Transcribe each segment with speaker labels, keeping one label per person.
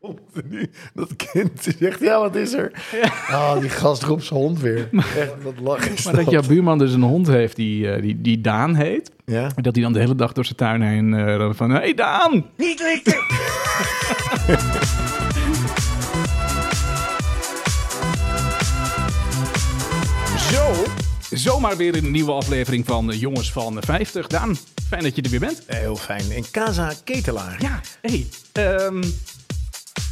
Speaker 1: Komt er nu. Dat kind die zegt, ja, wat is er? Ah, die gast roept zijn hond weer. Echt, wat lachen is
Speaker 2: Maar dat jouw buurman dus een hond heeft die, eh, die, die Daan heet.
Speaker 1: Ja?
Speaker 2: En dat hij dan de hele dag door zijn tuin heen eh, dan van... Hé hey Daan!
Speaker 3: Niet likken!
Speaker 2: Zo! Zomaar weer een nieuwe aflevering van eh, Jongens van 50. Daan, fijn dat je er weer bent.
Speaker 1: Heel fijn. En Casa Ketelaar.
Speaker 2: Ja, hé. Hey, ehm,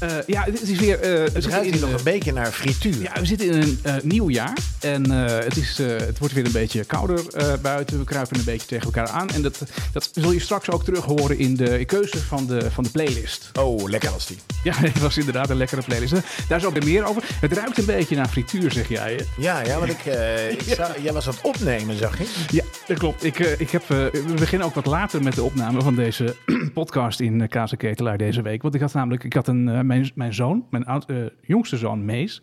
Speaker 2: eh, ja, dit is weer... eh, we
Speaker 1: Het
Speaker 2: zitten
Speaker 1: Dus ruikt
Speaker 2: in,
Speaker 1: hier nog
Speaker 2: eh,
Speaker 1: een beetje naar frituur.
Speaker 2: Ja, we zitten in een eh, nieuw jaar en eh, het, is, eh, het wordt weer een beetje kouder eh, buiten. We kruipen een beetje tegen elkaar aan. En dat, dat zul je straks ook terug horen in de keuze van de, van de playlist.
Speaker 1: Oh, lekker was die.
Speaker 2: Ja, het was inderdaad een lekkere playlist. Eh, Daar zo weer meer over. Het ruikt een beetje naar frituur, zeg jij. hè?
Speaker 1: Ja, ja, want ik, eh, ik zou- jij was aan het opnemen, zag ik.
Speaker 2: Ja, dat klopt. Ik, eh, ik heb, eh, we beginnen ook wat later met de opname van deze podcast in uh, Ketelaar deze week. Want ik had namelijk ik had een, eh, mijn, mijn zoon, mijn oud, eh, jongste zoon Mees,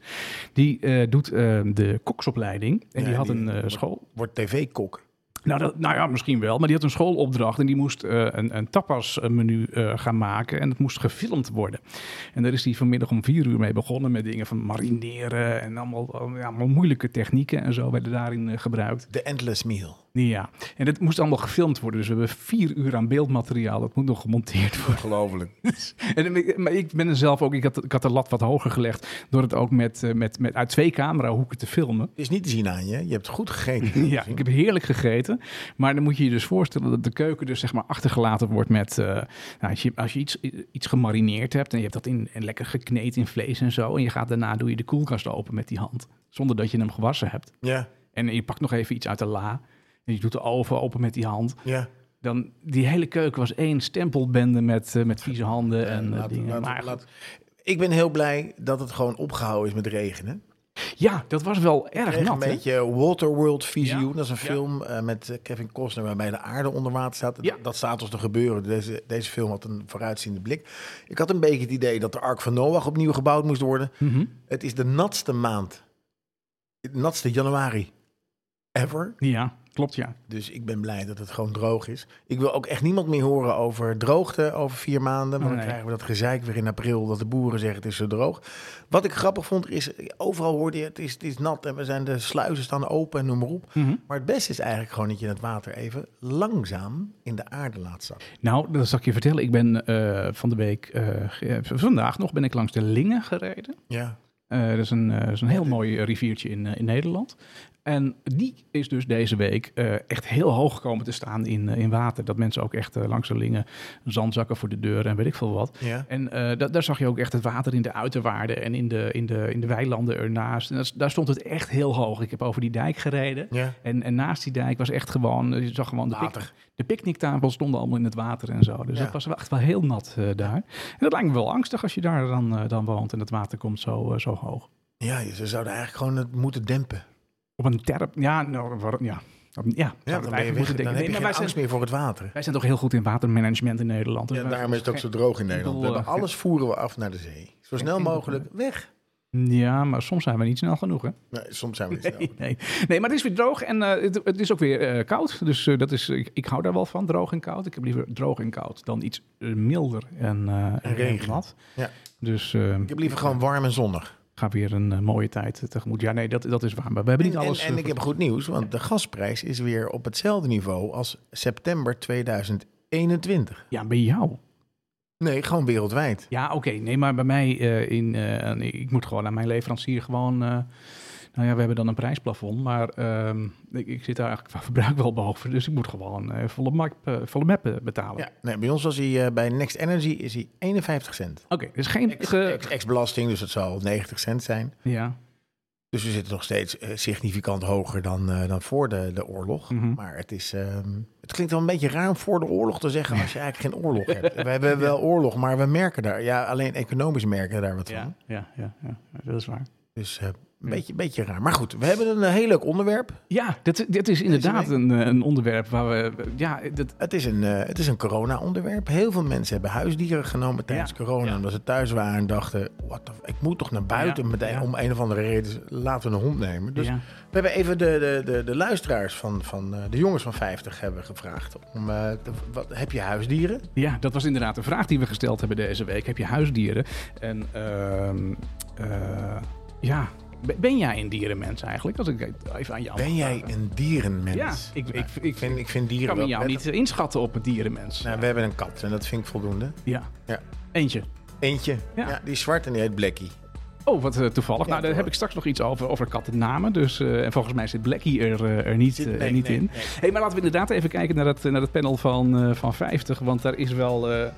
Speaker 2: die eh, doet eh, de koksopleiding. En
Speaker 1: Ja,
Speaker 2: die had
Speaker 1: die
Speaker 2: een eh,
Speaker 1: wordt-
Speaker 2: school.
Speaker 1: Wordt tv-kok.
Speaker 2: Nou, dat, nou ja, misschien wel. Maar die had een schoolopdracht en die moest eh, een, een tapasmenu eh, gaan maken. En het moest gefilmd worden. En daar is hij vanmiddag om vier uur mee begonnen met dingen van marineren. En allemaal, allemaal- ja, allemaal moeilijke technieken en zo werden daarin eh, gebruikt.
Speaker 1: De Endless Meal.
Speaker 2: Ja, en dat moest allemaal gefilmd worden. Dus we hebben vier uur aan beeldmateriaal. Dat moet nog gemonteerd worden.
Speaker 1: Ongelooflijk.
Speaker 2: En, eh, ik- maar ik ben er zelf ook, ik had, ik had de lat wat hoger gelegd. Door het ook met, eh, met, met, uit twee camerahoeken te filmen.
Speaker 1: Het is niet te zien aan je. Je hebt goed gegeten.
Speaker 2: Ja, ik heb heerlijk gegeten. Maar dan moet je je dus voorstellen dat de keuken dus zeg maar achtergelaten wordt met... eh, nou, als je, als je iets, iets gemarineerd hebt en je hebt dat in, en lekker gekneed in vlees en zo... en je gaat daarna doe je de koelkast open met die hand. Zonder dat je hem gewassen hebt.
Speaker 1: Ja,
Speaker 2: En je pakt nog even iets uit de la... en je doet de oven open met die hand.
Speaker 1: ja.
Speaker 2: Dan, die hele keuken was één stempelbende met, eh, met vieze handen en eh,
Speaker 1: Laat-
Speaker 2: dingen.
Speaker 1: laat-
Speaker 2: Maar goed.
Speaker 1: laat- Ik ben heel blij dat het gewoon opgehouden is met regenen.
Speaker 2: Ja, dat was wel erg
Speaker 1: Echt
Speaker 2: nat, hè?
Speaker 1: een beetje Waterworld visioen.
Speaker 2: Ja,
Speaker 1: Dat is een
Speaker 2: ja.
Speaker 1: film eh, met eh, Kevin Costner waarbij de aarde onder water staat.
Speaker 2: Ja.
Speaker 1: Dat staat ons te gebeuren. Deze, deze film had een vooruitziende blik. Ik had een beetje het idee dat de Ark van Noach opnieuw gebouwd moest worden.
Speaker 2: Mhm.
Speaker 1: Het is de natste maand. Het natste januari. Ever.
Speaker 2: Ja, klopt ja.
Speaker 1: Dus ik ben blij dat het gewoon droog is. Ik wil ook echt niemand meer horen over droogte over vier maanden. Want
Speaker 2: Oh, nee.
Speaker 1: dan krijgen we dat gezeik weer in april dat de boeren zeggen het is zo droog. Wat ik grappig vond is, overal hoorde je het is, het is nat en we zijn de sluizen staan open en noem maar op.
Speaker 2: Mhm.
Speaker 1: Maar het beste is eigenlijk gewoon dat je het water even langzaam in de aarde laat zakken.
Speaker 2: Nou, dat zal ik je vertellen. Ik ben eh, van de week, eh, ge- eh, vandaag nog, ben ik langs de Lingen gereden.
Speaker 1: Ja.
Speaker 2: Eh, dat, is een, eh, dat is een heel mooi eh, riviertje in, eh, in Nederland. En die is dus deze week eh, echt heel hoog komen te staan in, eh, in water. Dat mensen ook echt eh, langs de lingen zandzakken voor de deuren en weet ik veel wat.
Speaker 1: Ja.
Speaker 2: En eh, da- daar zag je ook echt het water in de uiterwaarden en in de, in de, in de weilanden ernaast. En dat is- daar stond het echt heel hoog. Ik heb over die dijk gereden.
Speaker 1: Ja.
Speaker 2: En, en naast die dijk was echt gewoon, eh, je zag gewoon de,
Speaker 1: Water.
Speaker 2: pic- de picknicktafels stonden allemaal in het water en zo. Dus
Speaker 1: Ja.
Speaker 2: het was wel echt wel heel nat eh, daar. En dat lijkt me wel angstig als je daar dan, eh, dan woont en het water komt zo, eh, zo hoog.
Speaker 1: Ja, ze zouden eigenlijk gewoon het moeten dempen.
Speaker 2: Op een terp, ja, nou, waar- ja. Op- Ja, zouden we
Speaker 1: Ja, dan, ben je
Speaker 2: eigenlijk
Speaker 1: weg,
Speaker 2: moeten
Speaker 1: dan
Speaker 2: denken.
Speaker 1: heb je
Speaker 2: Nee, maar
Speaker 1: geen
Speaker 2: wij
Speaker 1: angst
Speaker 2: zijn,
Speaker 1: meer voor het water.
Speaker 2: wij zijn toch heel goed in watermanagement in Nederland. Dus
Speaker 1: Ja,
Speaker 2: wij-
Speaker 1: daarom is het ook zo droog in Nederland. We
Speaker 2: bedoel,
Speaker 1: hebben
Speaker 2: eh,
Speaker 1: alles voeren we af naar de zee. Zo snel
Speaker 2: enkel
Speaker 1: mogelijk weg.
Speaker 2: Ja, maar soms zijn we niet snel genoeg, hè?
Speaker 1: Nee, soms zijn we niet snel.
Speaker 2: Nee, nee. nee, maar het is weer droog en eh, het, het is ook weer eh, koud. Dus eh, dat is, ik, ik hou daar wel van, droog en koud. Ik heb liever droog en koud dan iets eh, milder en, eh en
Speaker 1: regen.
Speaker 2: glad.
Speaker 1: Ja.
Speaker 2: Dus eh,
Speaker 1: Ik heb liever gewoon warm en zonnig.
Speaker 2: ga weer een eh, mooie tijd eh, tegemoet. Ja, nee, dat, dat is waar. Maar we hebben
Speaker 1: En,
Speaker 2: niet
Speaker 1: en,
Speaker 2: alles...
Speaker 1: en
Speaker 2: eh,
Speaker 1: ik heb goed nieuws, want de gasprijs is weer op hetzelfde niveau als september 2021.
Speaker 2: Ja, bij jou.
Speaker 1: Nee, gewoon wereldwijd.
Speaker 2: Ja, oké. Nee, maar bij mij eh, in... eh, aan- ik moet gewoon aan mijn leverancier gewoon... eh, nou ja, we hebben dan een prijsplafond, maar ehm, ik, ik zit daar eigenlijk qua verbruik wel boven. Dus ik moet gewoon eh, volle, map, eh, volle map eh, betalen.
Speaker 1: Ja, nee, bij ons was hij eh, bij Next Energy is hij 51 cent.
Speaker 2: Oké, dus geen...
Speaker 1: Ex-
Speaker 2: ge-
Speaker 1: ex- Ex-belasting, dus dat zal 90 cent zijn.
Speaker 2: ja.
Speaker 1: Dus we zitten nog steeds eh, significant hoger dan, eh, dan voor de, de oorlog.
Speaker 2: Mhm.
Speaker 1: Maar het, is, ehm, het klinkt wel een beetje raar om voor de oorlog te zeggen als je eigenlijk geen oorlog hebt. We hebben wel oorlog, maar we merken daar, ja, alleen economisch merken we daar wat
Speaker 2: Ja,
Speaker 1: van.
Speaker 2: ja, ja, ja, dat is waar.
Speaker 1: Dus eh,
Speaker 2: Hm.
Speaker 1: een beetje, beetje raar. Maar goed, we hebben een eh, heel leuk onderwerp.
Speaker 2: Ja, dit, dit is inderdaad een, eh, een onderwerp waar we... Ja, dat,
Speaker 1: Het is een, eh, het is een corona-onderwerp. Heel veel mensen hebben huisdieren genomen tijdens
Speaker 2: Ja,
Speaker 1: corona.
Speaker 2: ja.
Speaker 1: Omdat ze thuis waren en dachten... What the f- ik moet toch naar buiten
Speaker 2: Ja,
Speaker 1: met de-
Speaker 2: ja.
Speaker 1: om een of andere reden. Laten we een hond nemen. Dus
Speaker 2: ja.
Speaker 1: we hebben even de, de, de, de luisteraars van, van eh, de jongens van 50 hebben gevraagd. Om, eh, te- wat, heb je huisdieren?
Speaker 2: Ja, dat was inderdaad de vraag die we gesteld hebben deze week. Heb je huisdieren? En ehm, eh, ja, ben- ben jij een dierenmens eigenlijk? Als ik even aan jou mag
Speaker 1: Ben jij
Speaker 2: vragen.
Speaker 1: een dierenmens?
Speaker 2: Ja, ik, ik, ik,
Speaker 1: vind, ik vind dieren
Speaker 2: kan me
Speaker 1: wel
Speaker 2: jou
Speaker 1: prettig.
Speaker 2: niet inschatten op het dierenmens.
Speaker 1: Nou, we hebben een kat en dat vind ik voldoende.
Speaker 2: ja.
Speaker 1: Ja.
Speaker 2: Eentje.
Speaker 1: Eentje. Ja.
Speaker 2: Ja.
Speaker 1: die is zwart en die heet Blackie.
Speaker 2: Oh, wat eh, toevallig.
Speaker 1: Ja,
Speaker 2: nou, daar
Speaker 1: toevallig.
Speaker 2: heb ik straks nog iets over, over kattennamen. Dus, eh, en volgens mij zit Blackie er, eh, er niet,
Speaker 1: Zit-
Speaker 2: eh, er
Speaker 1: nee,
Speaker 2: niet
Speaker 1: nee,
Speaker 2: in.
Speaker 1: nee.
Speaker 2: Hey, maar laten we inderdaad even kijken naar dat, naar dat panel van, eh, van 50. Want daar is wel, eh,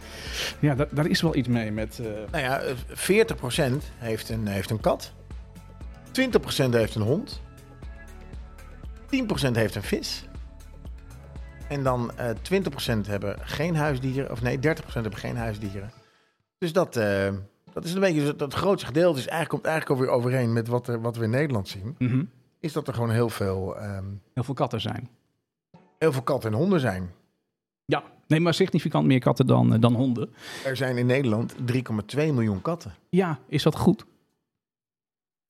Speaker 2: ja, daar, daar is wel iets mee met... eh,
Speaker 1: Nou ja, eh, 40% heeft een, heeft een kat. 20% heeft een hond. 10% heeft een vis. En dan eh 20% hebben geen huisdieren. Of nee, 30% hebben geen huisdieren. Dus dat, eh, dat is een beetje... Dat, dat grootste gedeelte is eigenlijk, komt eigenlijk alweer overeen met wat, er, wat we in Nederland zien.
Speaker 2: mhm,
Speaker 1: Is dat er gewoon heel veel, ehm,
Speaker 2: heel veel katten zijn.
Speaker 1: heel veel katten en honden zijn.
Speaker 2: Ja, nee, maar significant meer katten dan, eh, dan honden.
Speaker 1: Er zijn in Nederland 3,2 miljoen katten.
Speaker 2: Ja, is dat goed?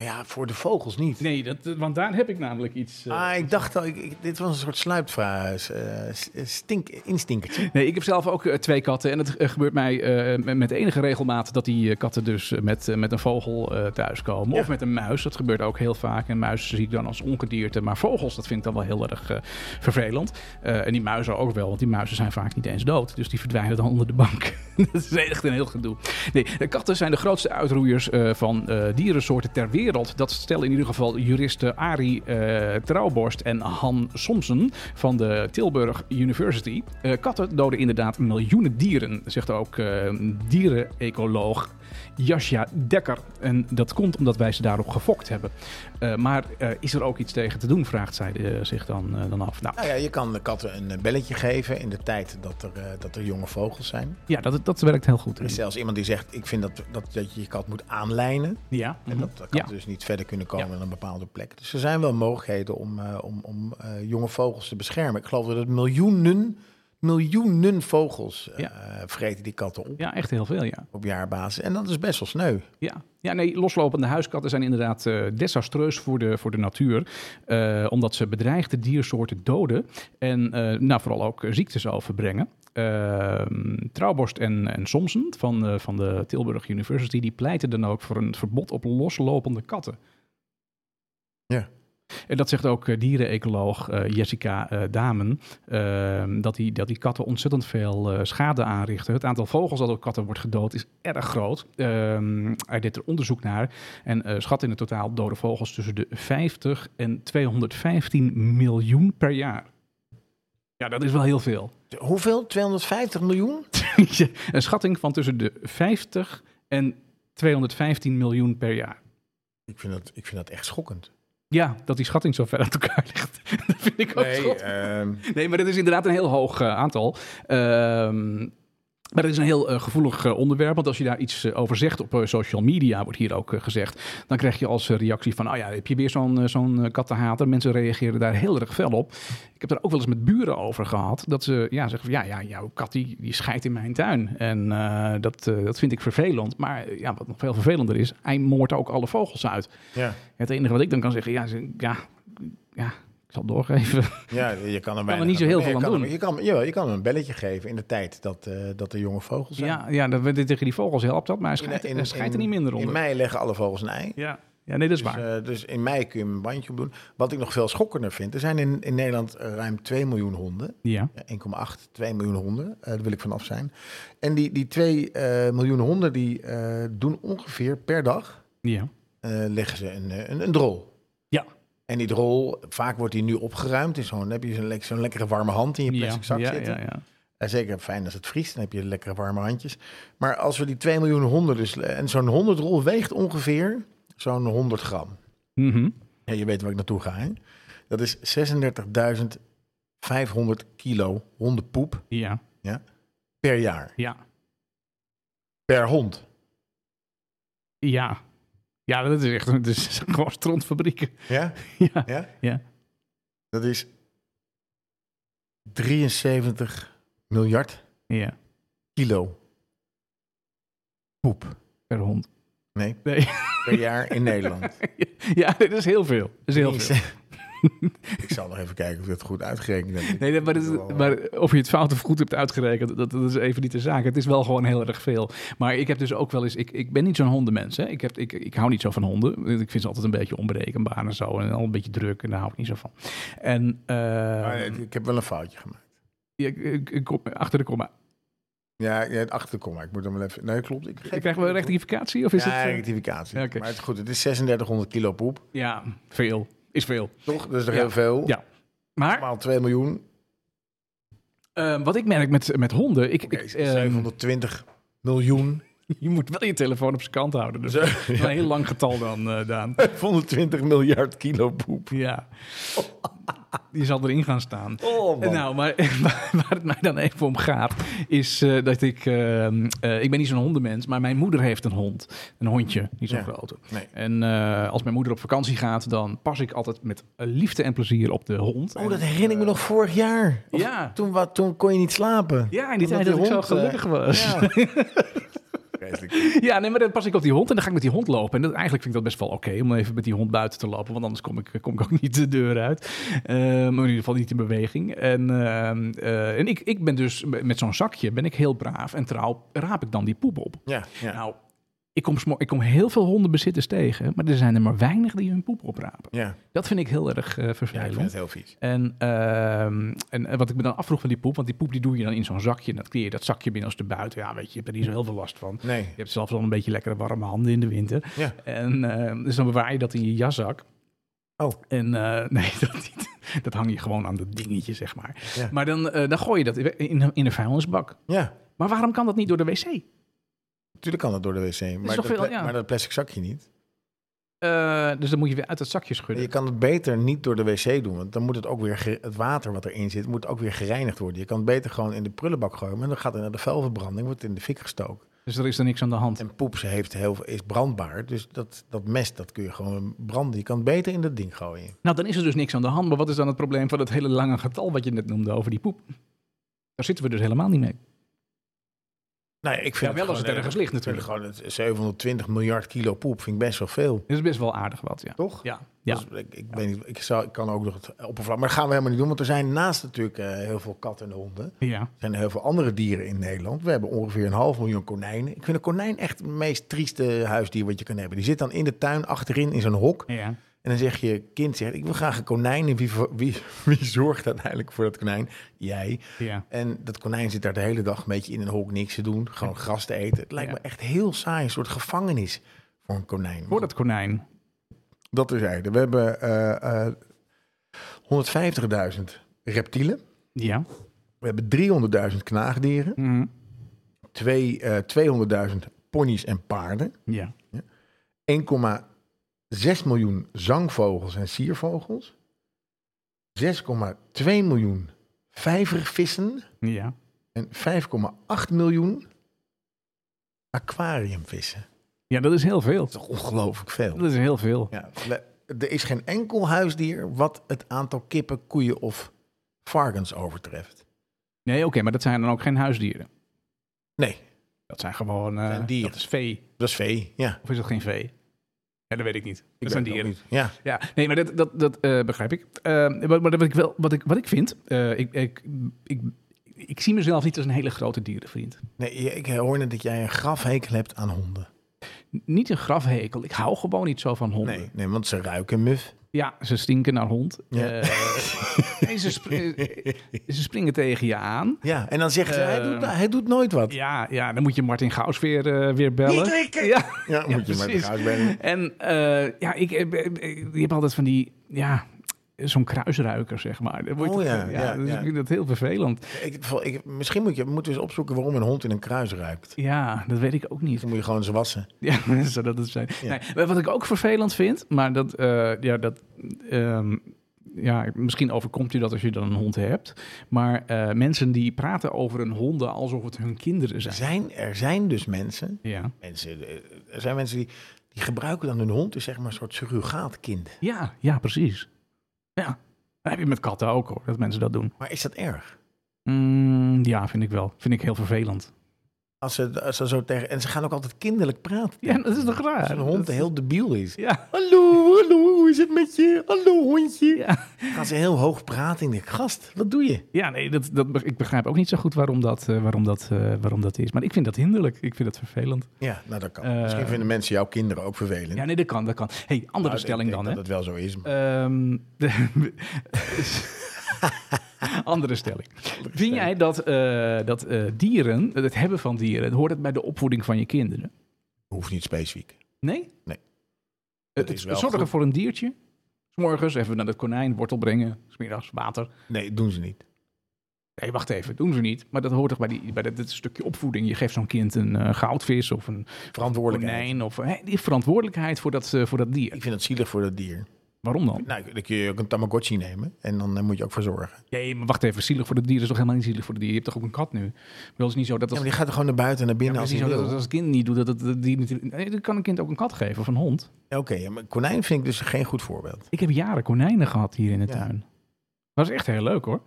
Speaker 1: Ja, voor de vogels niet.
Speaker 2: Nee, dat, eh, want daar heb ik namelijk iets... eh,
Speaker 1: Ah, ik dacht al, ik, ik- dit was een soort sluipvraag. eh, s- eh, stink, instinkertje.
Speaker 2: Nee, ik heb zelf ook eh, twee katten. En het eh, gebeurt mij eh, met- met enige regelmaat dat die eh, katten dus eh, met, eh, met een vogel eh, thuiskomen.
Speaker 1: Ja.
Speaker 2: Of met een muis. Dat gebeurt ook heel vaak. En muis zie ik dan als ongedierte. Maar vogels, dat vind ik dan wel heel erg eh, vervelend. Eh, en die muizen ook wel, want die muizen zijn vaak niet eens dood. Dus die verdwijnen dan onder de bank. dat is echt een heel gedoe. Nee, de katten zijn de grootste uitroeiers eh, van eh, dierensoorten ter wereld. Dat stellen in ieder geval juristen Arie eh, Trouwborst en Han Somsen van de Tilburg University. Eh, katten doden inderdaad miljoenen dieren, zegt ook eh, dierenecoloog Jasja Dekker. En dat komt omdat wij ze daarop gefokt hebben. Eh, maar eh, is er ook iets tegen te doen, vraagt zij eh, zich dan, eh, dan af. Nou,
Speaker 1: Nou ja, je kan de katten een eh, belletje geven in de tijd dat er, eh, dat er jonge vogels zijn.
Speaker 2: ja, dat, dat werkt heel goed.
Speaker 1: Er is zelfs iemand die zegt, ik vind dat, dat, dat je je kat moet aanlijnen.
Speaker 2: Ja,
Speaker 1: En dat, dat katten
Speaker 2: ja.
Speaker 1: dus niet verder kunnen komen
Speaker 2: Ja.
Speaker 1: dan een bepaalde plek. Dus er zijn wel mogelijkheden om, eh, om, om eh, jonge vogels te beschermen. Ik geloof dat het miljoenen, miljoenen vogels eh, vreten die katten op.
Speaker 2: ja, echt heel veel, ja.
Speaker 1: Op jaarbasis. En dat is best wel sneu.
Speaker 2: Ja. ja, nee, loslopende huiskatten zijn inderdaad eh, desastreus voor de, voor de natuur. eh, omdat ze bedreigde diersoorten doden en eh, nou, vooral ook eh, ziektes overbrengen. Ehm, Trouwborst en, en Somsen van, eh, van de Tilburg University... die pleiten dan ook voor een verbod op loslopende katten.
Speaker 1: Ja.
Speaker 2: En dat zegt ook eh, dierenecoloog eh, Jessica eh, Damen... ehm, dat, die, dat die katten ontzettend veel eh, schade aanrichten. Het aantal vogels dat door katten wordt gedood is erg groot. Ehm hij deed er onderzoek naar en eh, schat in het totaal dode vogels tussen de 50 en 215 miljoen per jaar. Ja, dat is wel heel veel.
Speaker 1: Hoeveel? 250 miljoen?
Speaker 2: een schatting van tussen de 50 en 215 miljoen per jaar.
Speaker 1: Ik vind dat, ik vind dat echt schokkend.
Speaker 2: Ja, dat die schatting zo ver uit elkaar ligt. dat vind ik ook schokkend.
Speaker 1: ehm,
Speaker 2: Nee, maar dat is inderdaad een heel hoog eh, aantal. Ehm, maar dat is een heel eh, gevoelig eh, onderwerp. Want als je daar iets eh, over zegt op eh, social media, wordt hier ook eh, gezegd. Dan krijg je als eh, reactie van: oh ja, heb je weer zo'n eh, zo'n eh, kattenhater? Mensen reageren daar heel erg fel op. Ik heb daar ook wel eens met buren over gehad. Dat ze ja, zeggen: van, ja, ja, jouw kat die, die scheidt in mijn tuin. En eh, dat, eh, dat vind ik vervelend. Maar eh, ja, wat nog veel vervelender is, hij moordt ook alle vogels uit.
Speaker 1: ja.
Speaker 2: Het enige wat ik dan kan zeggen: ja, ze- ja, ja ik zal het doorgeven.
Speaker 1: ja, je kan er, weinig
Speaker 2: niet zo heel
Speaker 1: nee, je
Speaker 2: veel aan
Speaker 1: kan
Speaker 2: doen.
Speaker 1: hem- je, kan, jawel, je kan hem een belletje geven in de tijd dat, eh, dat er jonge vogels zijn.
Speaker 2: Ja, ja dat, we- tegen die vogels helpt dat, maar hij schijnt, hij schijnt er niet minder onder.
Speaker 1: In mei leggen alle vogels een ei.
Speaker 2: ja. ja, nee, dat is
Speaker 1: Dus,
Speaker 2: waar.
Speaker 1: eh, dus in mei kun je hem een bandje op doen. Wat ik nog veel schokkender vind, er zijn in, in Nederland ruim 2 miljoen honden.
Speaker 2: ja.
Speaker 1: Ja, 1,8, 2 miljoen honden. Eh, daar wil ik vanaf zijn. En die, die 2 eh, miljoen honden die eh, doen ongeveer per dag
Speaker 2: Ja.
Speaker 1: eh, leggen ze een, eh, een, een drol.
Speaker 2: Ja.
Speaker 1: En die drol, vaak wordt die nu opgeruimd. In zo'n, dan heb je zo'n, lek- zo'n lekkere warme hand in je
Speaker 2: ja.
Speaker 1: plastic zak
Speaker 2: ja,
Speaker 1: zitten.
Speaker 2: Ja, ja.
Speaker 1: En zeker fijn als het vriest, dan heb je lekkere warme handjes. Maar als we die 2 miljoen honden dus... En zo'n honderdrol weegt ongeveer zo'n 100 gram.
Speaker 2: Mhm.
Speaker 1: Ja, je weet waar ik naartoe ga, hè? Dat is 36.500 kilo hondenpoep
Speaker 2: ja.
Speaker 1: per jaar.
Speaker 2: ja.
Speaker 1: Per hond.
Speaker 2: Ja. Ja, dat is echt dat is gewoon strontfabrieken.
Speaker 1: Ja?
Speaker 2: ja.
Speaker 1: ja?
Speaker 2: Ja.
Speaker 1: Dat is 73 miljard
Speaker 2: ja,
Speaker 1: kilo poep
Speaker 2: per hond.
Speaker 1: nee,
Speaker 2: Nee.
Speaker 1: per jaar in Nederland.
Speaker 2: ja, dat is heel veel. Dat is heel veel.
Speaker 1: Ik zal nog even kijken of ik dat goed uitgerekend heb.
Speaker 2: Nee, maar, dat is- maar of je het fout of goed hebt uitgerekend, dat, dat is even niet de zaak. Het is wel gewoon heel erg veel. Maar ik heb dus ook wel eens... Ik, ik ben niet zo'n hondenmens, hè. Ik, heb, ik, ik hou niet zo van honden. Ik vind ze altijd een beetje onberekenbaar en zo. En al een beetje druk en daar hou ik niet zo van. En eh,
Speaker 1: Maar het- ik heb wel een foutje gemaakt.
Speaker 2: ja, ik, ik, ik kom achter de komma.
Speaker 1: Ja, ja, het achter de komma. Ik moet hem wel even... Nee, klopt. Ik
Speaker 2: Krijgen we rectificatie of is
Speaker 1: Ja,
Speaker 2: het... eh,
Speaker 1: rectificatie.
Speaker 2: Ja, oké.
Speaker 1: Maar het, goed, het is 3600 kilo poep.
Speaker 2: ja, veel. Is veel.
Speaker 1: Toch? Dat is toch
Speaker 2: Ja.
Speaker 1: heel veel?
Speaker 2: Ja. Maar
Speaker 1: Maal 2 miljoen.
Speaker 2: eh, wat ik merk met, met honden... Ik,
Speaker 1: Oké,
Speaker 2: ik, eh,
Speaker 1: 720 miljoen.
Speaker 2: je moet wel je telefoon op zijn kant houden. Dus
Speaker 1: Zo,
Speaker 2: Een heel lang getal dan, eh, Daan.
Speaker 1: 720 miljard kilo poep.
Speaker 2: Ja. Die zal erin gaan staan.
Speaker 1: Oh, man.
Speaker 2: Nou, maar waar- waar het mij dan even om gaat, is eh, dat ik... eh, eh, ik ben niet zo'n hondenmens, maar mijn moeder heeft een hond. Een hondje, niet zo'n
Speaker 1: Ja.
Speaker 2: grote.
Speaker 1: Nee.
Speaker 2: En eh, als mijn moeder op vakantie gaat, dan pas ik altijd met liefde en plezier op de hond.
Speaker 1: Oh, dat herinner ik me nog vorig jaar. Of
Speaker 2: Ja.
Speaker 1: Toen, wat, toen kon je niet slapen.
Speaker 2: Ja, in die
Speaker 1: Omdat
Speaker 2: tijd dat
Speaker 1: die
Speaker 2: ik zo
Speaker 1: hond, eh,
Speaker 2: gelukkig was. Ja.
Speaker 1: Vreselijk.
Speaker 2: nee, maar dan pas ik op die hond en dan ga ik met die hond lopen. En dat, eigenlijk vind ik dat best wel oké om even met die hond buiten te lopen. Want anders kom ik, kom ik ook niet de deur uit. Ehm, maar in ieder geval niet in beweging. En, ehm, eh, en ik, ik ben dus met zo'n zakje ben ik heel braaf en trouw raap ik dan die poep op.
Speaker 1: Ja, ja.
Speaker 2: Nou, ik kom, smo- ik kom heel veel hondenbezitters tegen, maar er zijn er maar weinig die hun poep oprapen.
Speaker 1: ja.
Speaker 2: Dat vind ik heel erg eh,
Speaker 1: ja, ik
Speaker 2: vervelend.
Speaker 1: vind het heel vies.
Speaker 2: En, ehm, en eh, wat ik me dan afvroeg van die poep, want die poep die doe je dan in zo'n zakje. En dat kleer je dat zakje binnen als de buiten. Ja, weet je, je hebt er niet zo heel veel last van.
Speaker 1: Nee.
Speaker 2: Je hebt zelfs al een beetje lekkere warme handen in de winter.
Speaker 1: Ja.
Speaker 2: En, ehm, dus dan bewaar je dat in je jaszak.
Speaker 1: Oh.
Speaker 2: En eh, nee, dat niet. Dat hang je gewoon aan dat dingetje, zeg maar.
Speaker 1: Ja.
Speaker 2: Maar dan, eh, dan gooi je dat in, in een vuilnisbak.
Speaker 1: Ja.
Speaker 2: Maar waarom kan dat niet door de wc?
Speaker 1: Natuurlijk kan dat door de wc. Maar dat,
Speaker 2: toch veel,
Speaker 1: pla-
Speaker 2: ja.
Speaker 1: maar dat plastic zakje niet.
Speaker 2: Eh, dus dan moet je weer uit dat zakje schudden.
Speaker 1: Je kan het beter niet door de wc doen. Want dan moet het ook weer... ge- Het water wat erin zit, moet ook weer gereinigd worden. Je kan het beter gewoon in de prullenbak gooien. Maar dan gaat het naar de vuilverbranding. Wordt het in de fik gestoken.
Speaker 2: Dus er is er niks aan de hand.
Speaker 1: En poep ze heeft heel, veel- is brandbaar. Dus dat, dat mest, dat kun je gewoon branden. Je kan het beter in dat ding gooien.
Speaker 2: Nou, dan is er dus niks aan de hand. Maar wat is dan het probleem van dat hele lange getal wat je net noemde over die poep? Daar zitten we dus helemaal niet mee.
Speaker 1: Nou, ja, ik
Speaker 2: Ja,
Speaker 1: vind
Speaker 2: wel als het
Speaker 1: gewoon,
Speaker 2: ergens
Speaker 1: eh,
Speaker 2: ligt
Speaker 1: ik vind
Speaker 2: natuurlijk.
Speaker 1: Gewoon het 720 miljard kilo poep vind ik best wel veel.
Speaker 2: Dat is best wel aardig wat, ja.
Speaker 1: Toch?
Speaker 2: Ja, ja.
Speaker 1: Dus ik, ik, weet niet, ik, zou, ik kan ook nog het oppervlak. Maar dat gaan we helemaal niet doen. Want er zijn naast natuurlijk eh, heel veel katten en honden.
Speaker 2: ja.
Speaker 1: Er zijn heel veel andere dieren in Nederland. We hebben ongeveer een half miljoen konijnen. Ik vind een konijn echt het meest trieste huisdier wat je kan hebben. Die zit dan in de tuin achterin in zo'n hok.
Speaker 2: ja.
Speaker 1: En dan zeg je, kind zegt, ik wil graag een konijn. En wie, ver- wie, wie zorgt uiteindelijk voor dat konijn? Jij.
Speaker 2: ja.
Speaker 1: En dat konijn zit daar de hele dag een beetje in een hok niks te doen. Gewoon gras te eten. Het lijkt
Speaker 2: Ja.
Speaker 1: me echt heel saai. Een soort gevangenis voor een konijn.
Speaker 2: Voor dat konijn.
Speaker 1: Dat is eigenlijk. We hebben eh, eh, 150.000 reptielen.
Speaker 2: Ja.
Speaker 1: We hebben 300.000 knaagdieren.
Speaker 2: Mhm.
Speaker 1: Twee, eh, 200.000 ponies en paarden.
Speaker 2: Ja.
Speaker 1: 1,6 miljoen zangvogels en siervogels. 6,2 miljoen vijvervissen.
Speaker 2: Ja.
Speaker 1: En 5,8 miljoen aquariumvissen.
Speaker 2: Ja, dat is heel veel.
Speaker 1: Dat is toch ongelooflijk veel?
Speaker 2: Dat is heel veel.
Speaker 1: Ja, le- er is geen enkel huisdier wat het aantal kippen, koeien of varkens overtreft.
Speaker 2: Nee, oké, maar dat zijn dan ook geen huisdieren.
Speaker 1: Nee,
Speaker 2: Dat zijn gewoon... eh
Speaker 1: zijn dieren.
Speaker 2: Dat is vee.
Speaker 1: dat is vee. Ja,
Speaker 2: Of is dat geen vee? Ja, dat weet ik niet.
Speaker 1: ik
Speaker 2: Dat zijn
Speaker 1: weet het
Speaker 2: dieren.
Speaker 1: ook niet. Ja,
Speaker 2: Ja, nee, maar dat, dat, dat eh, begrijp ik. Eh, maar maar wat, ik wel, wat, ik, wat ik vind, eh, ik, ik, ik, ik zie mezelf niet als een hele grote dierenvriend.
Speaker 1: nee, je- ik hoor net dat jij een grafhekel hebt aan honden.
Speaker 2: N- Niet een grafhekel. Ik hou gewoon niet zo van honden.
Speaker 1: Nee, nee want ze ruiken muf.
Speaker 2: Ja, ze stinken naar hond.
Speaker 1: Ja.
Speaker 2: Eh, nee, ze, spr- eh, ze springen tegen je aan.
Speaker 1: Ja, en dan zeggen ze, hij,
Speaker 2: Eh,
Speaker 1: doet, hij doet nooit wat.
Speaker 2: Ja, ja, dan moet je Martin Gauws weer, eh, weer bellen.
Speaker 3: Niet drinken!
Speaker 2: Ja.
Speaker 1: Ja, moet je maar
Speaker 2: precies.
Speaker 1: eruit brengen.
Speaker 2: En eh, ja, ik, eh, eh, je hebt altijd van die, ja, zo'n kruisruiker, zeg maar. Dan word je-
Speaker 1: Oh ja, ja,
Speaker 2: dus
Speaker 1: ja.
Speaker 2: ik vind dat heel vervelend.
Speaker 1: Ik, ik, misschien moet je, moet je eens opzoeken waarom een hond in een kruis ruikt.
Speaker 2: Ja, dat weet ik ook niet.
Speaker 1: Dan moet je gewoon ze wassen.
Speaker 2: Ja, zou dat het zijn.
Speaker 1: Ja.
Speaker 2: Nee, maar wat ik ook vervelend vind, maar dat, eh, ja, dat, ehm, ja, misschien overkomt je dat als je dan een hond hebt. Maar eh, mensen die praten over hun honden alsof het hun kinderen
Speaker 1: Er
Speaker 2: zijn.
Speaker 1: zijn, er zijn dus mensen,
Speaker 2: Ja,
Speaker 1: mensen, eh, er zijn mensen die, die Die gebruiken dan hun hond, dus zeg maar een soort surrogaatkind.
Speaker 2: Ja, ja, precies. Ja. Dat heb je met katten ook hoor, dat mensen dat doen.
Speaker 1: Maar is dat erg?
Speaker 2: Mm, ja, vind ik wel. Vind ik heel vervelend.
Speaker 1: Als ze, als ze zo tegen, en ze gaan ook altijd kinderlijk praten.
Speaker 2: Ja, dat is toch raar?
Speaker 1: Als een hond
Speaker 2: Dat-
Speaker 1: heel debiel is.
Speaker 2: Ja.
Speaker 1: Hallo, hallo, hoe is het met je? Hallo, hondje.
Speaker 2: Ja,
Speaker 1: Dan Gaan ze heel hoog praten. Ik denk, gast, wat doe je?
Speaker 2: ja nee, dat, dat, ik begrijp ook niet zo goed waarom dat, eh, waarom, dat, eh, waarom dat is. Maar ik vind dat hinderlijk. Ik vind dat vervelend.
Speaker 1: Ja, nou dat kan.
Speaker 2: Eh,
Speaker 1: Misschien vinden mensen jouw kinderen ook vervelend.
Speaker 2: Ja, nee, dat kan, dat kan. hey, andere
Speaker 1: Nou, ik
Speaker 2: stelling
Speaker 1: denk dat
Speaker 2: dan, hè?
Speaker 1: het wel zo is. maar-
Speaker 2: Ehm, de- andere stelling. Vind jij dat, eh, dat eh, dieren, het hebben van dieren, hoort het bij de opvoeding van je kinderen?
Speaker 1: Hoeft niet specifiek.
Speaker 2: Nee?
Speaker 1: Nee.
Speaker 2: Het,
Speaker 1: is wel
Speaker 2: zorgen
Speaker 1: goed.
Speaker 2: voor een diertje. 's Morgens even naar het konijn, wortel brengen. 's middags water.
Speaker 1: Nee, doen ze niet.
Speaker 2: Nee, wacht even, doen ze niet. Maar dat hoort toch bij, die, bij dat, dat stukje opvoeding. Je geeft zo'n kind een eh, goudvis of een
Speaker 1: Verantwoordelijkheid.
Speaker 2: konijn. Of, hè, die verantwoordelijkheid voor dat, eh, voor dat dier.
Speaker 1: Ik vind dat zielig voor dat dier.
Speaker 2: Waarom dan?
Speaker 1: Nou, dan kun je ook een Tamagotchi nemen en dan eh, moet je ook voor zorgen.
Speaker 2: Nee, maar wacht even. Zielig voor het dier is toch helemaal niet zielig voor het dier? Je hebt toch ook een kat nu? Wel is niet zo dat
Speaker 1: Ja,
Speaker 2: als,
Speaker 1: maar die gaat er gewoon naar buiten en naar binnen
Speaker 2: het is
Speaker 1: als
Speaker 2: niet
Speaker 1: hij
Speaker 2: zo dat
Speaker 1: wil.
Speaker 2: als het kind niet doet, dat het dat dier natuurlijk... Nee, dan kan een kind ook een kat geven of een hond.
Speaker 1: Ja, Oké, ja, maar konijn vind ik dus geen goed voorbeeld.
Speaker 2: Ik heb jaren konijnen gehad hier in de
Speaker 1: Ja.
Speaker 2: tuin. Was echt heel leuk hoor.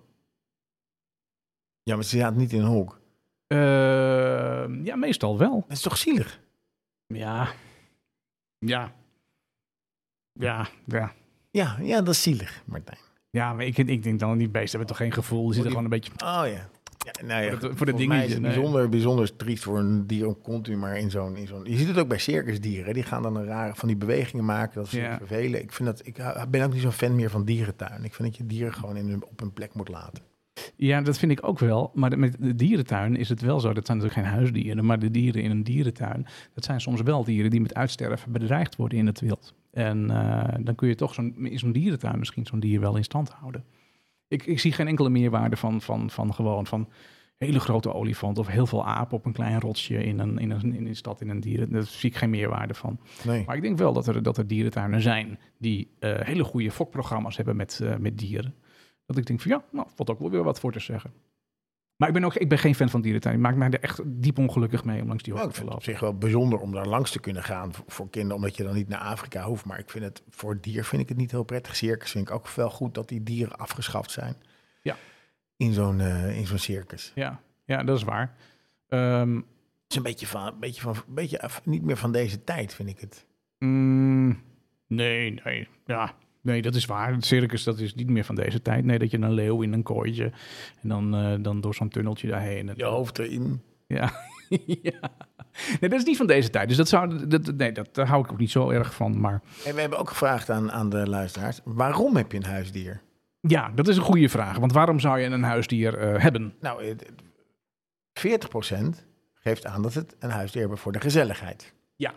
Speaker 1: Ja, maar ze zaten niet in een hok.
Speaker 2: Eh, ja, meestal wel.
Speaker 1: Dat is toch zielig?
Speaker 2: Ja. Ja. Ja, ja.
Speaker 1: Ja, ja dat is zielig, Martijn.
Speaker 2: Ja, maar ik, ik denk dan, die beesten hebben toch geen gevoel. Die zitten
Speaker 1: die-
Speaker 2: gewoon een beetje...
Speaker 1: Oh ja. ja nou ja,
Speaker 2: Voor dat-
Speaker 1: goed,
Speaker 2: voor dat
Speaker 1: volgens mij is
Speaker 2: dingetje,
Speaker 1: het
Speaker 2: nee.
Speaker 1: bijzonder, bijzonder triest voor een dier om continu maar in zo'n... in zo'n- Je ziet het ook bij circusdieren. Die gaan dan een rare van die bewegingen maken. Dat ze
Speaker 2: Ja.
Speaker 1: zich vervelen. Ik, vind dat, ik hou- ben ook niet zo'n fan meer van dierentuin. Ik vind dat je dieren gewoon in hun, op hun plek moet laten.
Speaker 2: Ja, dat vind ik ook wel. Maar de- met de dierentuin is het wel zo. Dat zijn natuurlijk geen huisdieren, maar de dieren in een dierentuin. Dat zijn soms wel dieren die met uitsterven bedreigd worden in het wild. En eh, dan kun je toch zo'n, in zo'n dierentuin misschien zo'n dier wel in stand houden. Ik, ik zie geen enkele meerwaarde van, van, van gewoon van hele grote olifant of heel veel apen op een klein rotsje in een, in een, in een stad in een dieren. Daar zie ik geen meerwaarde van.
Speaker 1: Nee.
Speaker 2: Maar ik denk wel dat er, dat er dierentuinen zijn die eh, hele goede fokprogramma's hebben met, eh, met dieren. Dat ik denk van ja, nou, valt ook wel weer wat voor te zeggen. Maar ik ben, ook, ik ben geen fan van dierentuinen. Ik maak mij er echt diep ongelukkig mee om langs die
Speaker 1: Nou,
Speaker 2: hoogte
Speaker 1: ik
Speaker 2: te
Speaker 1: vind het op zich
Speaker 2: lopen.
Speaker 1: wel bijzonder om daar langs te kunnen gaan voor, voor kinderen, omdat je dan niet naar Afrika hoeft. Maar ik vind het voor het dier vind ik het niet heel prettig. Circus vind ik ook wel goed dat die dieren afgeschaft zijn.
Speaker 2: Ja.
Speaker 1: In zo'n eh, in zo'n circus. Het
Speaker 2: Ja, ja, dat is waar. Ehm,
Speaker 1: is een beetje van, een beetje van, een beetje af- niet meer van deze tijd, vind ik het.
Speaker 2: mm, nee, nee, ja. Nee, dat is waar. Het circus dat is niet meer van deze tijd. Nee, dat je een leeuw in een kooitje en dan, eh, dan door zo'n tunneltje daarheen. En-
Speaker 1: Je hoofd erin.
Speaker 2: Ja. ja. Nee, dat is niet van deze tijd. Dus dat zou, dat, nee, dat, daar hou ik ook niet zo erg van. Maar
Speaker 1: En we hebben ook gevraagd aan, aan de luisteraars: waarom heb je een huisdier?
Speaker 2: ja, dat is een goede vraag. Want waarom zou je een huisdier eh, hebben?
Speaker 1: Nou, het- het- 40% geeft aan dat het een huisdier hebben voor de gezelligheid.
Speaker 2: Ja.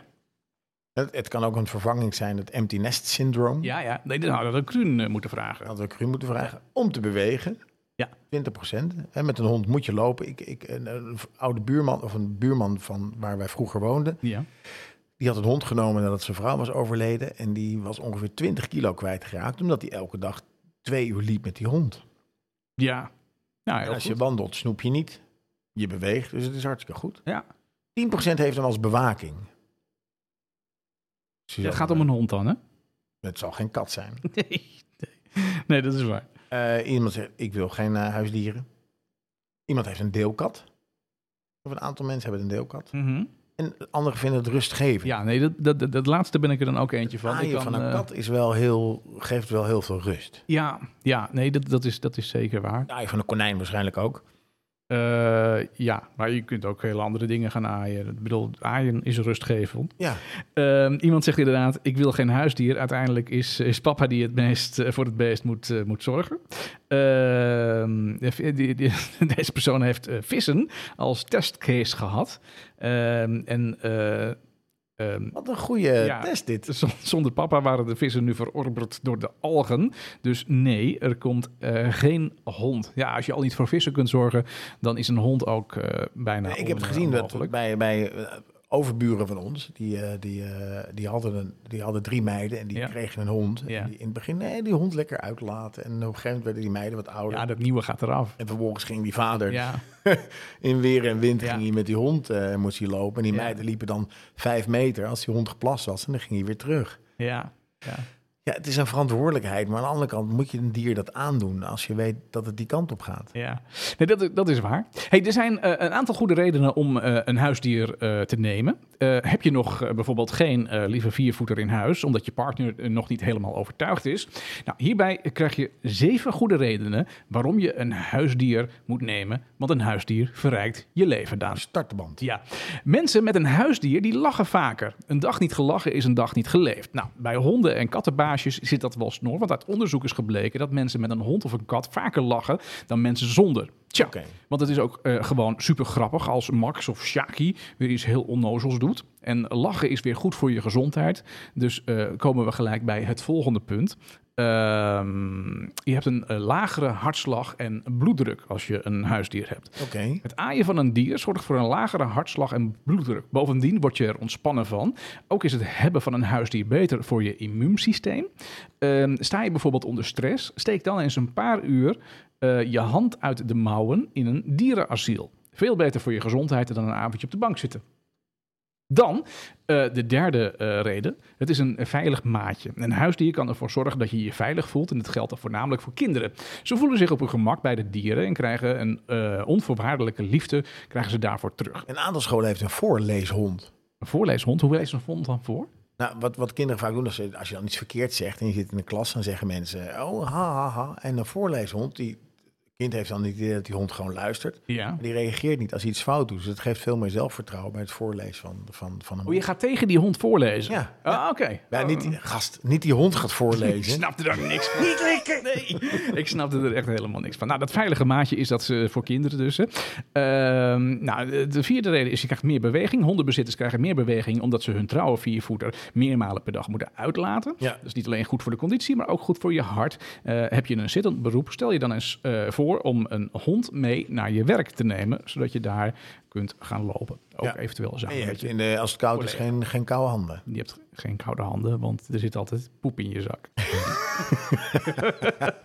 Speaker 1: Het, het kan ook een vervanging zijn, het empty nest syndroom.
Speaker 2: Ja, ja. Nee, dan hadden we dat Kruun eh, moeten vragen.
Speaker 1: hadden we Cru moeten vragen om te bewegen.
Speaker 2: Ja.
Speaker 1: 20 Hè, met een hond moet je lopen. Ik, ik, een, een oude buurman, of een buurman van waar wij vroeger woonden,
Speaker 2: Ja.
Speaker 1: die had een hond genomen nadat zijn vrouw was overleden. En die was ongeveer 20 kilo kwijtgeraakt, omdat hij elke dag twee uur liep met die hond.
Speaker 2: Ja. Ja, heel
Speaker 1: En als je
Speaker 2: goed.
Speaker 1: wandelt, snoep je niet. Je beweegt, dus het is hartstikke goed.
Speaker 2: Ja.
Speaker 1: 10 heeft hem als bewaking. Dus je
Speaker 2: Het
Speaker 1: zal-
Speaker 2: gaat om een hond dan, hè?
Speaker 1: Het zal geen kat zijn.
Speaker 2: Nee. Nee, nee dat is waar.
Speaker 1: Eh, iemand zegt, ik wil geen eh, huisdieren. Iemand heeft een deelkat. Of een aantal mensen hebben een deelkat.
Speaker 2: Mhm.
Speaker 1: En anderen vinden het rustgevend.
Speaker 2: Ja, nee, dat, dat, dat, dat laatste ben ik er dan ook eentje van.
Speaker 1: het
Speaker 2: Ik
Speaker 1: aaien
Speaker 2: kan,
Speaker 1: van een
Speaker 2: eh,
Speaker 1: kat is wel heel, geeft wel heel veel rust.
Speaker 2: Ja, ja nee, dat, dat, is, dat is zeker waar.
Speaker 1: Het aaien van een konijn waarschijnlijk ook.
Speaker 2: Eh, ja, maar je kunt ook hele andere dingen gaan aaien. Ik bedoel, aaien is rustgevend.
Speaker 1: Ja,
Speaker 2: Ehm, iemand zegt inderdaad, ik wil geen huisdier. Uiteindelijk is, is papa die het meest eh, voor het beest moet, eh, moet zorgen. Ehm, de- die- die- deze persoon heeft eh, vissen als testcase gehad. Ehm, en eh, ehm,
Speaker 1: wat een goede
Speaker 2: Ja.
Speaker 1: test dit.
Speaker 2: z- zonder papa waren de vissen nu verorberd door de algen. Dus nee, er komt eh, geen hond. Ja, als je al niet voor vissen kunt zorgen, dan is een hond ook eh, bijna
Speaker 1: ik heb
Speaker 2: on-
Speaker 1: gezien dat
Speaker 2: onmogelijk.
Speaker 1: bij, bij eh, overburen van ons, die, eh, die, eh, die, hadden, een, die hadden drie meiden en die
Speaker 2: Ja.
Speaker 1: kregen een hond.
Speaker 2: Ja.
Speaker 1: En die in het begin, nee, die hond lekker uitlaten. En op een gegeven moment werden die meiden wat ouder.
Speaker 2: Ja, dat nieuwe gaat eraf.
Speaker 1: En vervolgens ging die vader
Speaker 2: Ja,
Speaker 1: in weer en wind
Speaker 2: Ja.
Speaker 1: ging hij met die hond eh, moest hij lopen. En die
Speaker 2: Ja.
Speaker 1: meiden liepen dan vijf meter als die hond geplast was. En dan ging hij weer terug.
Speaker 2: ja, ja.
Speaker 1: Ja, het is een verantwoordelijkheid. Maar aan de andere kant moet je een dier dat aandoen als je weet dat het die kant op gaat.
Speaker 2: Ja, nee, dat, dat is waar. Hey, er zijn eh, een aantal goede redenen om eh, een huisdier eh, te nemen. Eh, heb je nog eh, bijvoorbeeld geen eh, lieve viervoeter in huis, omdat je partner eh, nog niet helemaal overtuigd is? Nou, hierbij krijg je zeven goede redenen waarom je een huisdier moet nemen, want een huisdier verrijkt je leven, Daan.
Speaker 1: Start de band.
Speaker 2: Ja, mensen met een huisdier die lachen vaker. Een dag niet gelachen is een dag niet geleefd. Nou, bij honden en kattenbaasjes zit dat wel snor, want uit onderzoek is gebleken dat mensen met een hond of een kat vaker lachen dan mensen zonder. Tja,
Speaker 1: Oké.
Speaker 2: want het is ook eh, gewoon super grappig als Max of Shaki weer iets heel onnozels doet. En lachen is weer goed voor je gezondheid. Dus eh, komen we gelijk bij het volgende punt. Ehm, je hebt een eh, lagere hartslag en bloeddruk als je een huisdier hebt.
Speaker 1: Oké.
Speaker 2: Het aaien van een dier zorgt voor een lagere hartslag en bloeddruk. Bovendien word je er ontspannen van. Ook is het hebben van een huisdier beter voor je immuunsysteem. Ehm, sta je bijvoorbeeld onder stress, steek dan eens een paar uur eh, je hand uit de mouwen in een dierenasiel. Veel beter voor je gezondheid dan een avondje op de bank zitten. Dan eh, de derde eh, reden. Het is een veilig maatje. Een huisdier kan ervoor zorgen dat je je veilig voelt. En dat geldt dan voornamelijk voor kinderen. Ze voelen zich op hun gemak bij de dieren. En krijgen een eh, onvoorwaardelijke liefde krijgen ze daarvoor terug.
Speaker 1: Een aantal scholen heeft een voorleeshond.
Speaker 2: Een voorleeshond, hoe leest een hond dan voor?
Speaker 1: Nou, wat, wat kinderen vaak doen, als, ze- als je dan iets verkeerd zegt en je zit in de klas, dan zeggen mensen, oh, ha, ha, ha. En een voorleeshond, die kind heeft dan het idee dat die hond gewoon luistert.
Speaker 2: Ja.
Speaker 1: Maar Die reageert niet als hij iets fout doet. Dus dat geeft veel meer zelfvertrouwen bij het voorlezen van, van, van een
Speaker 2: Oh, je
Speaker 1: hond.
Speaker 2: gaat tegen die hond voorlezen?
Speaker 1: Ja.
Speaker 2: Ah, oké.
Speaker 1: Ja,
Speaker 2: Oh.
Speaker 1: niet, die- gast, niet die hond gaat
Speaker 2: Ik
Speaker 1: voorlezen.
Speaker 2: snapte daar niks van. Niet lekker! Nee, ik snapte er echt helemaal niks van. Nou, dat veilige maatje is dat ze voor kinderen dus. hè. Ehm, nou, de- de vierde reden is je krijgt meer beweging. Hondenbezitters krijgen meer beweging omdat ze hun trouwe viervoeter meermalen per dag moeten uitlaten.
Speaker 1: Ja.
Speaker 2: Dat is niet alleen goed voor de conditie, maar ook goed voor je hart. Eh, heb je een zittend beroep, stel je dan eens eh, voor om een hond mee naar je werk te nemen, zodat je daar kunt gaan lopen. Ook
Speaker 1: Ja.
Speaker 2: eventueel
Speaker 1: En je
Speaker 2: samen
Speaker 1: hebt
Speaker 2: met je.
Speaker 1: in de, als het koud is, geen, geen koude handen.
Speaker 2: Je hebt geen koude handen, want er zit altijd poep in je zak.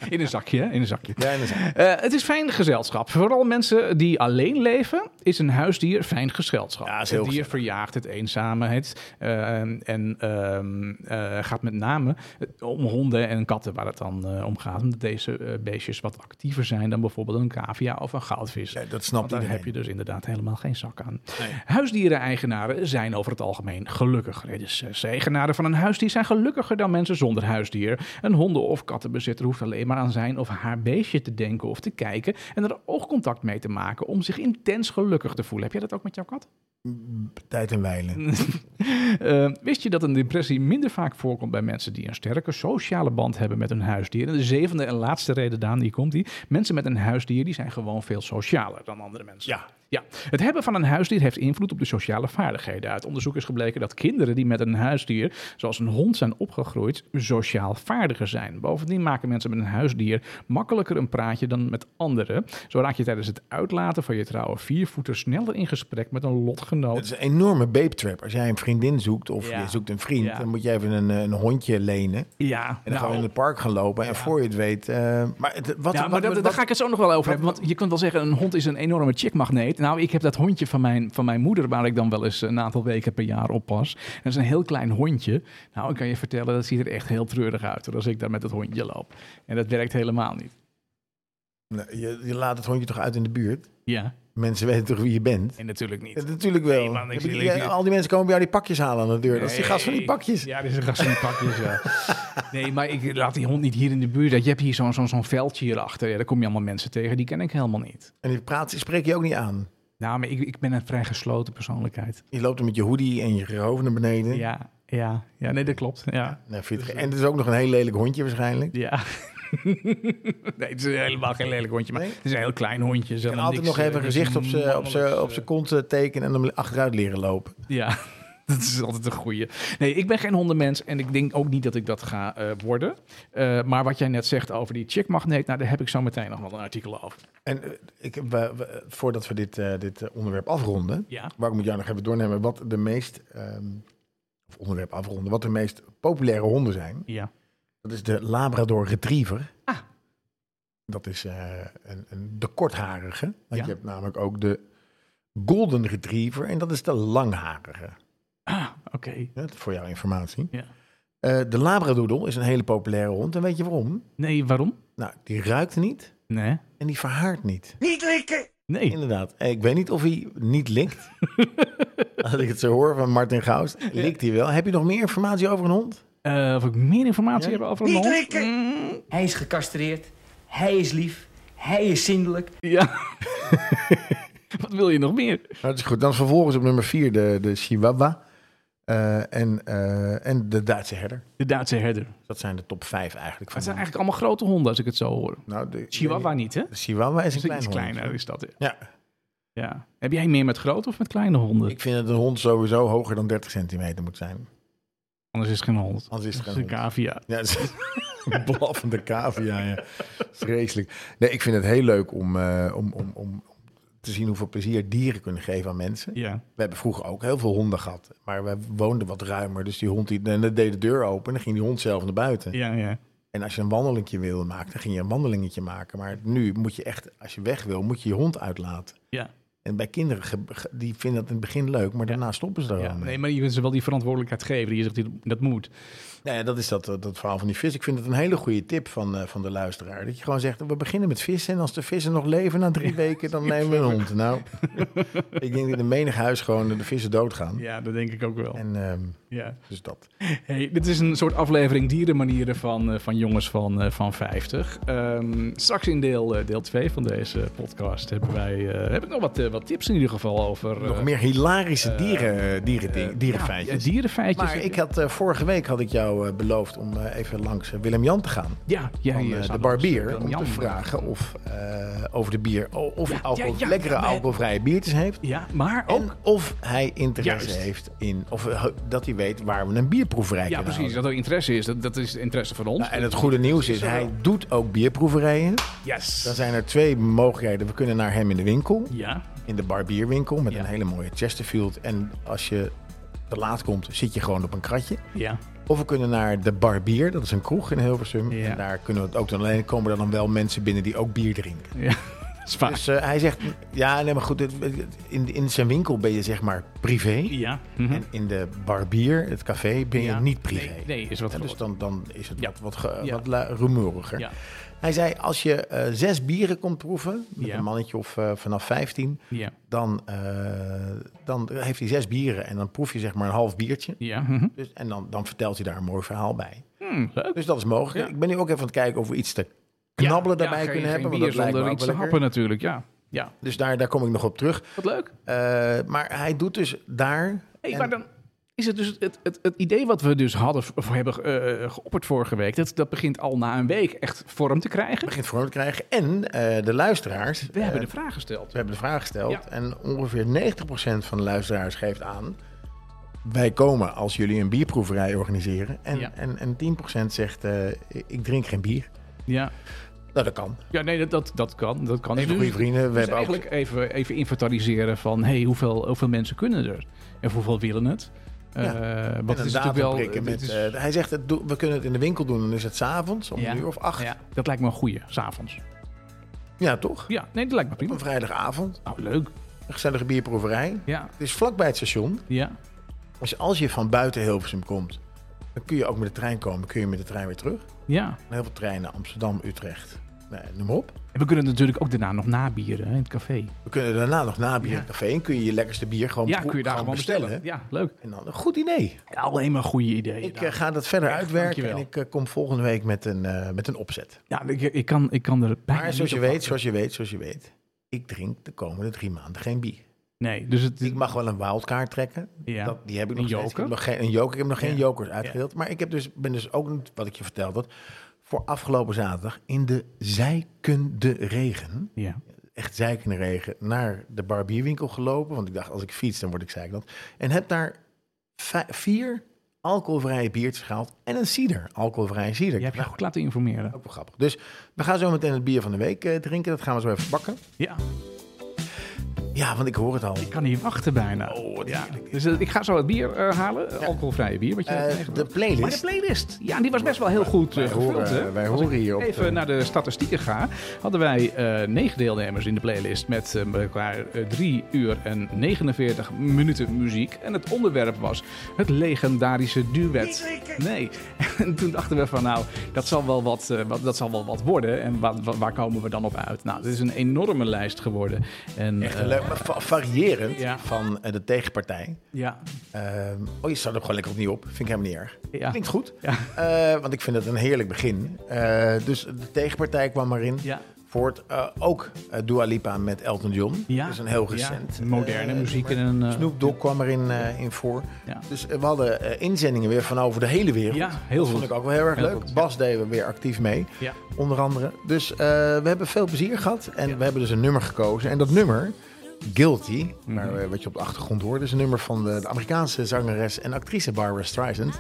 Speaker 2: in een zakje, hè? In een zakje.
Speaker 1: Ja, en dan zijn-
Speaker 2: Eh, het is fijn gezelschap. Vooral mensen die alleen leven, is een huisdier fijn gezelschap.
Speaker 1: Ja, is heel
Speaker 2: het dier
Speaker 1: gezellig.
Speaker 2: verjaagt het eenzaamheid ehm, en ehm, eh, gaat met name om honden en katten waar het dan eh, om gaat. Omdat deze eh, beestjes wat actiever zijn dan bijvoorbeeld een cavia of een goudvis.
Speaker 1: ja, dat snapt
Speaker 2: Want daar
Speaker 1: iedereen.
Speaker 2: heb je dus inderdaad helemaal geen zak aan.
Speaker 1: Nee.
Speaker 2: Huisdieren-eigenaren zijn over het algemeen gelukkiger. Reden 6. Eigenaren van een huisdier zijn gelukkiger dan mensen zonder huisdier. Een honden- of kattenbezitter hoeft alleen maar aan zijn of haar beestje te denken of te kijken. en er oogcontact mee te maken om zich intens gelukkig te voelen. Heb jij dat ook met jouw kat?
Speaker 1: Tijd en wijlen.
Speaker 2: Eh, wist je dat een depressie minder vaak voorkomt bij mensen die een sterke sociale band hebben met hun huisdier? En de zevende en laatste reden, Daan, die komt die. Mensen met een huisdier die zijn gewoon veel socialer dan andere mensen.
Speaker 1: Ja.
Speaker 2: Ja, het hebben van een huisdier heeft invloed op de sociale vaardigheden. Uit onderzoek is gebleken dat kinderen die met een huisdier, zoals een hond, zijn opgegroeid, sociaal vaardiger zijn. Bovendien maken mensen met een huisdier makkelijker een praatje dan met anderen. Zo raak je tijdens het uitlaten van je trouwe viervoeter sneller in gesprek met een
Speaker 1: Het
Speaker 2: lotgenoot.
Speaker 1: is een enorme babe trap. Als jij een vriendin zoekt of
Speaker 2: Ja.
Speaker 1: je zoekt een vriend,
Speaker 2: Ja.
Speaker 1: dan moet je even een, eh, een hondje lenen.
Speaker 2: Ja,
Speaker 1: En dan
Speaker 2: nou,
Speaker 1: gaan we in het park gaan lopen. En voor je het weet. eh, maar het- wat,
Speaker 2: Ja,
Speaker 1: wat,
Speaker 2: maar dat-
Speaker 1: wat-
Speaker 2: daar ga ik het zo nog wel over hebben. Want je kunt wel zeggen, een hond is een enorme chickmagneet. Nou, ik heb dat hondje van mijn, van mijn moeder, waar ik dan wel eens een aantal weken per jaar op pas. Dat is een heel klein hondje. Nou, ik kan je vertellen, dat ziet er echt heel treurig uit hoor, als ik daar met dat hondje loop. En dat werkt helemaal niet.
Speaker 1: Nee, je, je laat het hondje toch uit in de buurt?
Speaker 2: Ja,
Speaker 1: Mensen weten toch wie je bent?
Speaker 2: en natuurlijk niet.
Speaker 1: Ja, natuurlijk wel.
Speaker 2: Nee, man, ik
Speaker 1: Heb je-
Speaker 2: zie- ik zie-
Speaker 1: al die mensen komen bij jou die pakjes halen aan de deur. Dat is die gast van die pakjes.
Speaker 2: Ja, dat is een gast van die pakjes, ja. Nee, maar ik laat die hond niet hier in de buurt. Je hebt hier zo'n zo'n zo'n veldje hierachter. Ja, daar kom je allemaal mensen tegen, die ken ik helemaal niet.
Speaker 1: En die praat, die spreek je ook niet aan.
Speaker 2: Nou, maar ik, ik ben een vrij gesloten persoonlijkheid.
Speaker 1: Je loopt er met je hoodie en je hoofd naar beneden.
Speaker 2: Ja, ja, ja, nee, dat klopt. Ja,
Speaker 1: Nou, vind je het ge- en het is ook nog een heel lelijk hondje waarschijnlijk.
Speaker 2: ja. nee, het is helemaal geen lelijk hondje, maar
Speaker 1: Nee?
Speaker 2: het is een heel klein hondje.
Speaker 1: En
Speaker 2: eh.
Speaker 1: altijd nog even een gezicht op zijn op z'n- op z'n kont eh, tekenen en hem achteruit leren lopen.
Speaker 2: Ja, dat is altijd een goeie. Nee, ik ben geen hondenmens en ik denk ook niet dat ik dat ga eh, worden. Eh, maar wat jij net zegt over die chickmagneet, nou, daar heb ik zo meteen nog wel een artikel over.
Speaker 1: En eh, ik, we- we- voordat we dit, eh, dit eh, onderwerp afronden,
Speaker 2: Ja.
Speaker 1: waar ik met jou nog even doornemen wat de meest, ehm, of onderwerp afronden, wat de meest populaire honden zijn.
Speaker 2: Ja.
Speaker 1: Dat is de Labrador Retriever.
Speaker 2: Ah.
Speaker 1: Dat is eh, een, een, de kortharige. Want
Speaker 2: Ja.
Speaker 1: je hebt namelijk ook de Golden Retriever en dat is de langharige.
Speaker 2: Ah, oké.
Speaker 1: Hè, voor jouw informatie.
Speaker 2: Ja.
Speaker 1: Eh, de Labradoodle is een hele populaire hond. En weet je waarom?
Speaker 2: Nee, waarom?
Speaker 1: Nou, die ruikt niet
Speaker 2: Nee.
Speaker 1: en die verhaart niet.
Speaker 2: Nee.
Speaker 1: Inderdaad. Eh, Ik weet niet of hij niet likt. Als ik het zo hoor van Martin Gaus, likt hij wel. Heb je nog meer informatie over een hond?
Speaker 2: Eh, of ik meer informatie
Speaker 1: Ja?
Speaker 2: heb over een hond? Mm,
Speaker 3: Hij is gecastreerd, hij is lief, hij is zindelijk.
Speaker 2: ja. wat wil je nog meer?
Speaker 1: Nou, dat is goed. Dan vervolgens op nummer 4 de, de Chihuahua eh, en, eh, en de Duitse herder.
Speaker 2: De Duitse herder. Maar
Speaker 1: Dus Dat zijn de top 5 eigenlijk. Van
Speaker 2: het zijn
Speaker 1: de-
Speaker 2: eigenlijk allemaal grote honden als ik het zo hoor.
Speaker 1: nou, de,
Speaker 2: Chihuahua niet, hè?
Speaker 1: De Chihuahua is een
Speaker 2: Is iets
Speaker 1: klein hond.
Speaker 2: kleiner is dat. hè?
Speaker 1: Ja,
Speaker 2: Ja. Heb jij meer met grote of met kleine honden?
Speaker 1: ik vind dat een hond sowieso hoger dan 30 centimeter moet zijn.
Speaker 2: Anders is het geen hond.
Speaker 1: Anders is het
Speaker 2: Dat
Speaker 1: geen
Speaker 2: een cavia.
Speaker 1: Ja, het is een blaffende cavia, ja. Vreselijk. Nee, ik vind het heel leuk om, eh, om, om, om te zien hoeveel plezier dieren kunnen geven aan mensen.
Speaker 2: Ja.
Speaker 1: We hebben vroeger ook heel veel honden gehad, maar we woonden wat ruimer. Dus die hond die, en dan deed de deur open en dan ging die hond zelf naar buiten.
Speaker 2: Ja, ja.
Speaker 1: En als je een wandelingje wilde maken, dan ging je een wandelingetje maken. Maar nu moet je echt, als je weg wil, moet je je hond uitlaten.
Speaker 2: Ja.
Speaker 1: En bij kinderen, ge- ge- die vinden dat in het begin leuk, maar daarna stoppen ze er
Speaker 2: ja.
Speaker 1: wel mee.
Speaker 2: Nee, maar je kunt ze wel die verantwoordelijkheid geven. Je zegt, die- dat moet.
Speaker 1: Nou ja, dat is dat, dat verhaal van die vis. Ik vind het een hele goede tip van, eh, van de luisteraar. Dat je gewoon zegt, we beginnen met vissen. En als de vissen nog leven na drie weken, dan nemen we een hond. Nou, ik denk dat in menig huis gewoon de vissen doodgaan.
Speaker 2: Ja, dat denk ik ook wel.
Speaker 1: En ehm,
Speaker 2: Ja.
Speaker 1: dus dat.
Speaker 2: Hey, dit is een soort aflevering dierenmanieren van, eh, van jongens van, eh, van 50. Ehm, straks in deel, eh, deel 2 van deze podcast hebben wij, eh, heb ik nog wat, eh, wat tips in ieder geval over...
Speaker 1: Nog
Speaker 2: eh,
Speaker 1: meer hilarische dieren, dieren,
Speaker 2: eh,
Speaker 1: dierenfeitjes.
Speaker 2: Ja, dierenfeitjes.
Speaker 1: maar ik had, eh, vorige week had ik jou eh, beloofd om eh, even langs eh, Willem-Jan te gaan.
Speaker 2: ja, jij,
Speaker 1: Van,
Speaker 2: eh,
Speaker 1: eh,
Speaker 2: zou
Speaker 1: de
Speaker 2: nog eens,
Speaker 1: barbier.
Speaker 2: eh,
Speaker 1: Om
Speaker 2: Jan-
Speaker 1: te vragen of eh, over de bier. o- Of
Speaker 2: Ja,
Speaker 1: hij alcohol-
Speaker 2: ja, ja,
Speaker 1: lekkere
Speaker 2: ja, we-
Speaker 1: alcoholvrije biertjes heeft.
Speaker 2: Ja, maar ook...
Speaker 1: En of hij interesse
Speaker 2: Juist.
Speaker 1: heeft in, of eh, dat hij weet waar we een bierproeverij
Speaker 2: ja,
Speaker 1: kunnen
Speaker 2: precies.
Speaker 1: houden.
Speaker 2: Dat er interesse is. Dat, dat is het interesse van ons.
Speaker 1: Nou, en het goede nieuws is, hij doet ook bierproeverijen.
Speaker 2: Yes.
Speaker 1: Dan zijn er twee mogelijkheden. We kunnen naar hem in de winkel,
Speaker 2: Ja.
Speaker 1: in de barbierwinkel, met
Speaker 2: Ja.
Speaker 1: een hele mooie Chesterfield. En als je te laat komt, zit je gewoon op een kratje.
Speaker 2: Ja.
Speaker 1: Of we kunnen naar de barbier, dat is een kroeg in Hilversum.
Speaker 2: Ja.
Speaker 1: En daar kunnen we het ook dan alleen komen er dan wel mensen binnen die ook bier drinken.
Speaker 2: Ja. Dat is vaak.
Speaker 1: Dus eh, hij zegt, ja, nee, maar goed, het- het- in, in zijn winkel ben je zeg maar privé.
Speaker 2: ja. mhm.
Speaker 1: En in de barbier, het café, ben je
Speaker 2: Ja.
Speaker 1: niet privé.
Speaker 2: Nee, nee, is wat
Speaker 1: En dus
Speaker 2: groter.
Speaker 1: dan, dan is het
Speaker 2: Ja.
Speaker 1: wat, wat, ge-
Speaker 2: Ja.
Speaker 1: wat la- rumoeriger.
Speaker 2: Ja.
Speaker 1: Hij zei, als je eh, zes bieren komt proeven, met
Speaker 2: Ja.
Speaker 1: een mannetje of eh, vanaf 15,
Speaker 2: Ja.
Speaker 1: dan, eh, dan heeft hij zes bieren en dan proef je zeg maar een half biertje.
Speaker 2: Ja. mhm.
Speaker 1: Dus, en dan, dan vertelt hij daar een mooi verhaal bij.
Speaker 2: Hmm, leuk.
Speaker 1: Dus dat is mogelijk.
Speaker 2: Ja.
Speaker 1: Ik ben nu ook even aan het kijken of we iets te knabbelen
Speaker 2: Ja,
Speaker 1: daarbij
Speaker 2: geen-
Speaker 1: kunnen
Speaker 2: geen
Speaker 1: hebben. Want
Speaker 2: bier
Speaker 1: dat lijkt me
Speaker 2: zonder
Speaker 1: ook
Speaker 2: iets
Speaker 1: wel
Speaker 2: te
Speaker 1: lekker.
Speaker 2: happen natuurlijk, ja. Ja,
Speaker 1: Dus daar, daar kom ik nog op terug.
Speaker 2: wat leuk.
Speaker 1: Eh, maar hij doet dus daar...
Speaker 2: Hey,
Speaker 1: en-
Speaker 2: maar dan is het dus het, het, het idee wat we dus hadden of hebben eh, geopperd vorige week, dat, dat begint al na een week echt vorm te krijgen.
Speaker 1: begint vorm te krijgen. En eh, de luisteraars.
Speaker 2: We hebben
Speaker 1: eh,
Speaker 2: de vraag gesteld.
Speaker 1: we hebben de vraag gesteld.
Speaker 2: Ja.
Speaker 1: En ongeveer 90% van de luisteraars geeft aan. Wij komen als jullie een bierproeverij organiseren. En,
Speaker 2: Ja.
Speaker 1: en, en 10% zegt: eh, ik drink geen bier.
Speaker 2: Ja,
Speaker 1: Nou, dat kan.
Speaker 2: ja nee, dat, dat, dat kan. Dat kan.
Speaker 1: Even
Speaker 2: Dus-
Speaker 1: goede vrienden. We
Speaker 2: dus
Speaker 1: hebben
Speaker 2: eigenlijk even, even inventariseren van hey, hoeveel, hoeveel mensen kunnen er? En hoeveel willen het? Eh,
Speaker 1: Ja. ook
Speaker 2: want
Speaker 1: en
Speaker 2: het
Speaker 1: een
Speaker 2: is natuurlijk wel.
Speaker 1: datumprikken met,
Speaker 2: het is-
Speaker 1: eh, hij zegt: het, doe- we kunnen het in de winkel doen. Dan is het s'avonds om
Speaker 2: Ja.
Speaker 1: een uur of acht. Ja,
Speaker 2: ja, dat lijkt me een goeie, s'avonds.
Speaker 1: toch?
Speaker 2: Ja, nee, dat lijkt me
Speaker 1: Op
Speaker 2: prima.
Speaker 1: een vrijdagavond.
Speaker 2: Nou, leuk.
Speaker 1: Een gezellige bierproeverij.
Speaker 2: Ja,
Speaker 1: Het is vlakbij het station.
Speaker 2: ja.
Speaker 1: Dus als je van buiten Hilversum komt. dan kun je ook met de trein komen. Kun je met de trein weer terug.
Speaker 2: Ja.
Speaker 1: Heel veel treinen, Amsterdam, Utrecht. Nee, noem maar op.
Speaker 2: En we kunnen natuurlijk ook daarna nog nabieren hè, in het café.
Speaker 1: We kunnen daarna nog na bier
Speaker 2: Ja.
Speaker 1: in het café en kun je je lekkerste bier gewoon,
Speaker 2: Ja,
Speaker 1: proe-
Speaker 2: kun je daar gewoon bestellen. Ja, leuk.
Speaker 1: En dan een goed idee.
Speaker 2: Ja, alleen maar goede ideeën.
Speaker 1: Ik
Speaker 2: daar.
Speaker 1: eh, ga dat verder uitwerken en
Speaker 2: dankjewel.
Speaker 1: ik eh, kom volgende week met een, eh, met een opzet.
Speaker 2: ja, ik, ik, kan, ik kan er bijna
Speaker 1: Maar zoals
Speaker 2: niet
Speaker 1: je
Speaker 2: op
Speaker 1: weet,
Speaker 2: wachten.
Speaker 1: zoals je weet, zoals je weet, ik drink de komende drie maanden geen bier.
Speaker 2: Nee, dus het
Speaker 1: Ik mag wel een wildcard trekken.
Speaker 2: ja.
Speaker 1: Dat, die heb ik
Speaker 2: Een
Speaker 1: nog steeds. Ik heb
Speaker 2: joker?
Speaker 1: nog geen, een joker. Ik heb nog geen
Speaker 2: Ja.
Speaker 1: jokers uitgedeeld. Maar ik heb dus, ben dus ook, niet, wat ik je vertelde, voor afgelopen zaterdag in de zijkende regen.
Speaker 2: ja.
Speaker 1: echt zeikende regen naar de barbierwinkel gelopen. Want ik dacht, als ik fiets, dan word ik zeikend. En heb daar vi- vier alcoholvrije biertjes gehaald en een cider, alcoholvrije cider. Nou,
Speaker 2: Je hebt je goed laten informeren.
Speaker 1: Ook wel grappig. Dus we gaan zo meteen het bier van de week eh, drinken. Dat gaan we zo even bakken.
Speaker 2: Ja,
Speaker 1: Ja, want ik hoor het al.
Speaker 2: ik kan niet wachten bijna.
Speaker 1: Oh, wat
Speaker 2: ja. Dus eh, ik ga zo het bier eh, halen, alcoholvrije bier. Wat je
Speaker 1: Eh,
Speaker 2: hebt
Speaker 1: de
Speaker 2: meegenomen. Maar de
Speaker 1: playlist.
Speaker 2: playlist, ja, die was best wel heel goed eh,
Speaker 1: Wij
Speaker 2: gevuld.
Speaker 1: horen-
Speaker 2: hè?
Speaker 1: wij
Speaker 2: Als
Speaker 1: horen
Speaker 2: ik
Speaker 1: hier op
Speaker 2: Even
Speaker 1: de-
Speaker 2: naar de statistieken ga, hadden wij eh, negen deelnemers in de playlist met eh, bij elkaar eh, 3 uur en 49 minuten muziek. En het onderwerp was het legendarische duet. Nee, en toen dachten we van nou, dat zal wel wat, eh, wat, dat zal wel wat worden. En wa- wa- waar komen we dan op uit? Nou, dit is een enorme lijst geworden. En,
Speaker 1: Echt
Speaker 2: eh,
Speaker 1: leuk, maar va- variërend
Speaker 2: Ja.
Speaker 1: van eh, de tegenpartij.
Speaker 2: ja,
Speaker 1: Ehm, oh, je staat er gewoon lekker opnieuw op. Vind ik helemaal niet erg.
Speaker 2: ja.
Speaker 1: Klinkt goed.
Speaker 2: Ja.
Speaker 1: Eh, want ik vind het een heerlijk begin. Eh, dus de tegenpartij kwam maar in.
Speaker 2: Ja.
Speaker 1: Voort eh, ook eh Dua Lipa met Elton John.
Speaker 2: Ja.
Speaker 1: Dat is een heel
Speaker 2: Ja,
Speaker 1: recent.
Speaker 2: moderne
Speaker 1: eh,
Speaker 2: muziek
Speaker 1: nummer.
Speaker 2: in een... eh,
Speaker 1: Snoop Dogg kwam erin eh, in voor.
Speaker 2: Ja.
Speaker 1: Dus eh, we hadden eh, inzendingen weer van over de hele wereld.
Speaker 2: Ja, heel
Speaker 1: dat vond
Speaker 2: goed.
Speaker 1: ik ook wel heel erg
Speaker 2: Heel
Speaker 1: leuk.
Speaker 2: goed,
Speaker 1: Bas deed weer actief mee,
Speaker 2: Ja.
Speaker 1: onder andere. Dus eh, we hebben veel plezier gehad en we hebben dus een nummer gekozen. En dat nummer, Guilty,
Speaker 2: Mhm.
Speaker 1: maar, eh, wat je op de achtergrond hoort, is een nummer van de, de Amerikaanse zangeres en actrice Barbara Streisand.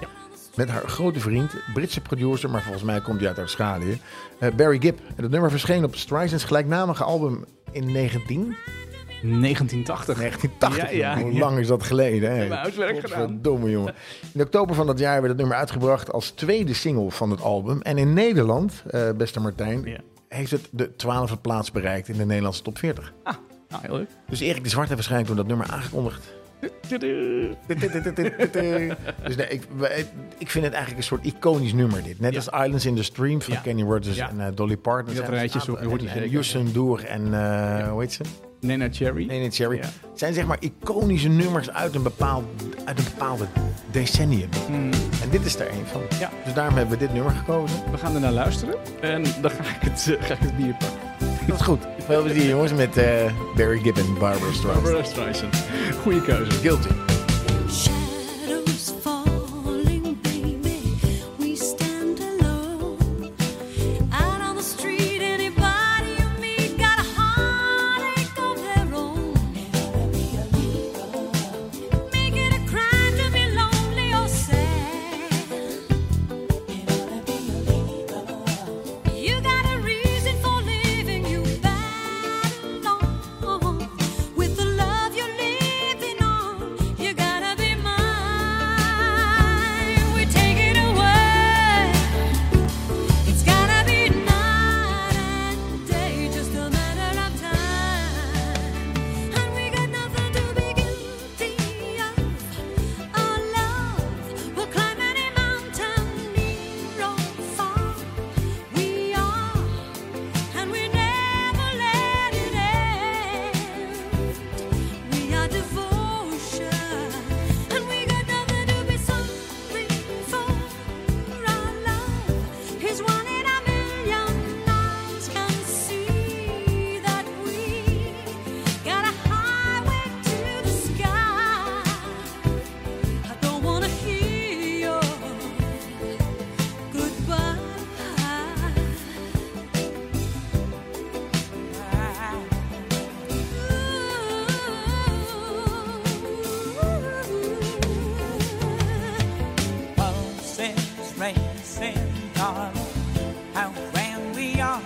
Speaker 1: Met haar grote vriend, Britse producer, maar volgens mij komt hij uit Australië, eh, Barry Gibb. En dat nummer verscheen op Streisand's gelijknamige album in 19,
Speaker 2: eh, 1980.
Speaker 1: 1980.
Speaker 2: Ja, ja,
Speaker 1: Hoe
Speaker 2: ja.
Speaker 1: lang is dat geleden? Hè?
Speaker 2: hebben huiswerk gedaan.
Speaker 1: Domme jongen. In oktober van dat jaar werd het nummer uitgebracht als tweede single van het album. En in Nederland, eh, beste Martijn,
Speaker 2: Ja.
Speaker 1: heeft het de twaalfde plaats bereikt in de Nederlandse top 40.
Speaker 2: Nou, heel leuk.
Speaker 1: Dus Erik de Zwart heeft waarschijnlijk toen dat nummer aangekondigd.
Speaker 2: Tudu.
Speaker 1: dus nee, ik, wij- ik vind het eigenlijk een soort iconisch nummer dit. Net
Speaker 2: Ja.
Speaker 1: als Islands in the Stream van
Speaker 2: Ja.
Speaker 1: Kenny Rogers
Speaker 2: Ja.
Speaker 1: en eh, Dolly Parton.
Speaker 2: Dat
Speaker 1: Zijn er
Speaker 2: rijtje
Speaker 1: een aantal-
Speaker 2: zo- hoort hij
Speaker 1: en- en
Speaker 2: zeker.
Speaker 1: Usain Doer en eh, hoe heet ze?
Speaker 2: Nena Cherry.
Speaker 1: Nee, nee, Cherry.
Speaker 2: Ja.
Speaker 1: Het zijn zeg maar iconische nummers uit een bepaald uit een bepaalde decennium. En dit is er een van.
Speaker 2: Hmm. Ja.
Speaker 1: Dus daarom hebben we dit nummer gekozen.
Speaker 2: We gaan ernaar luisteren en dan ga ik het, eh, ga ik het bier pakken.
Speaker 1: Dat is goed. Veel plezier jongens met eh, Barry Gibb en Barbara Streisand.
Speaker 2: Barbara Streisand. Goeie keuze.
Speaker 1: Guilty.
Speaker 4: Shadows falling, baby. We stand alone. Out on the street, anybody you meet got a heartache of their own. Make it a crime to be lonely or sad. You got a reason for living, you battle on with the love you're living on. You gotta be mine. We take it away. It's gotta be night and day, just a matter of time. And we got nothing to be guilty of. Our love will climb any mountain, near or far. We are, and we never let it end. We are devotion, and we got nothing to be sorry for. Our love is one in a million. Eyes can see that we got a highway to the sky. I don't wanna hear your goodbye. Ooh.
Speaker 5: Buses racing, darling, how grand we are.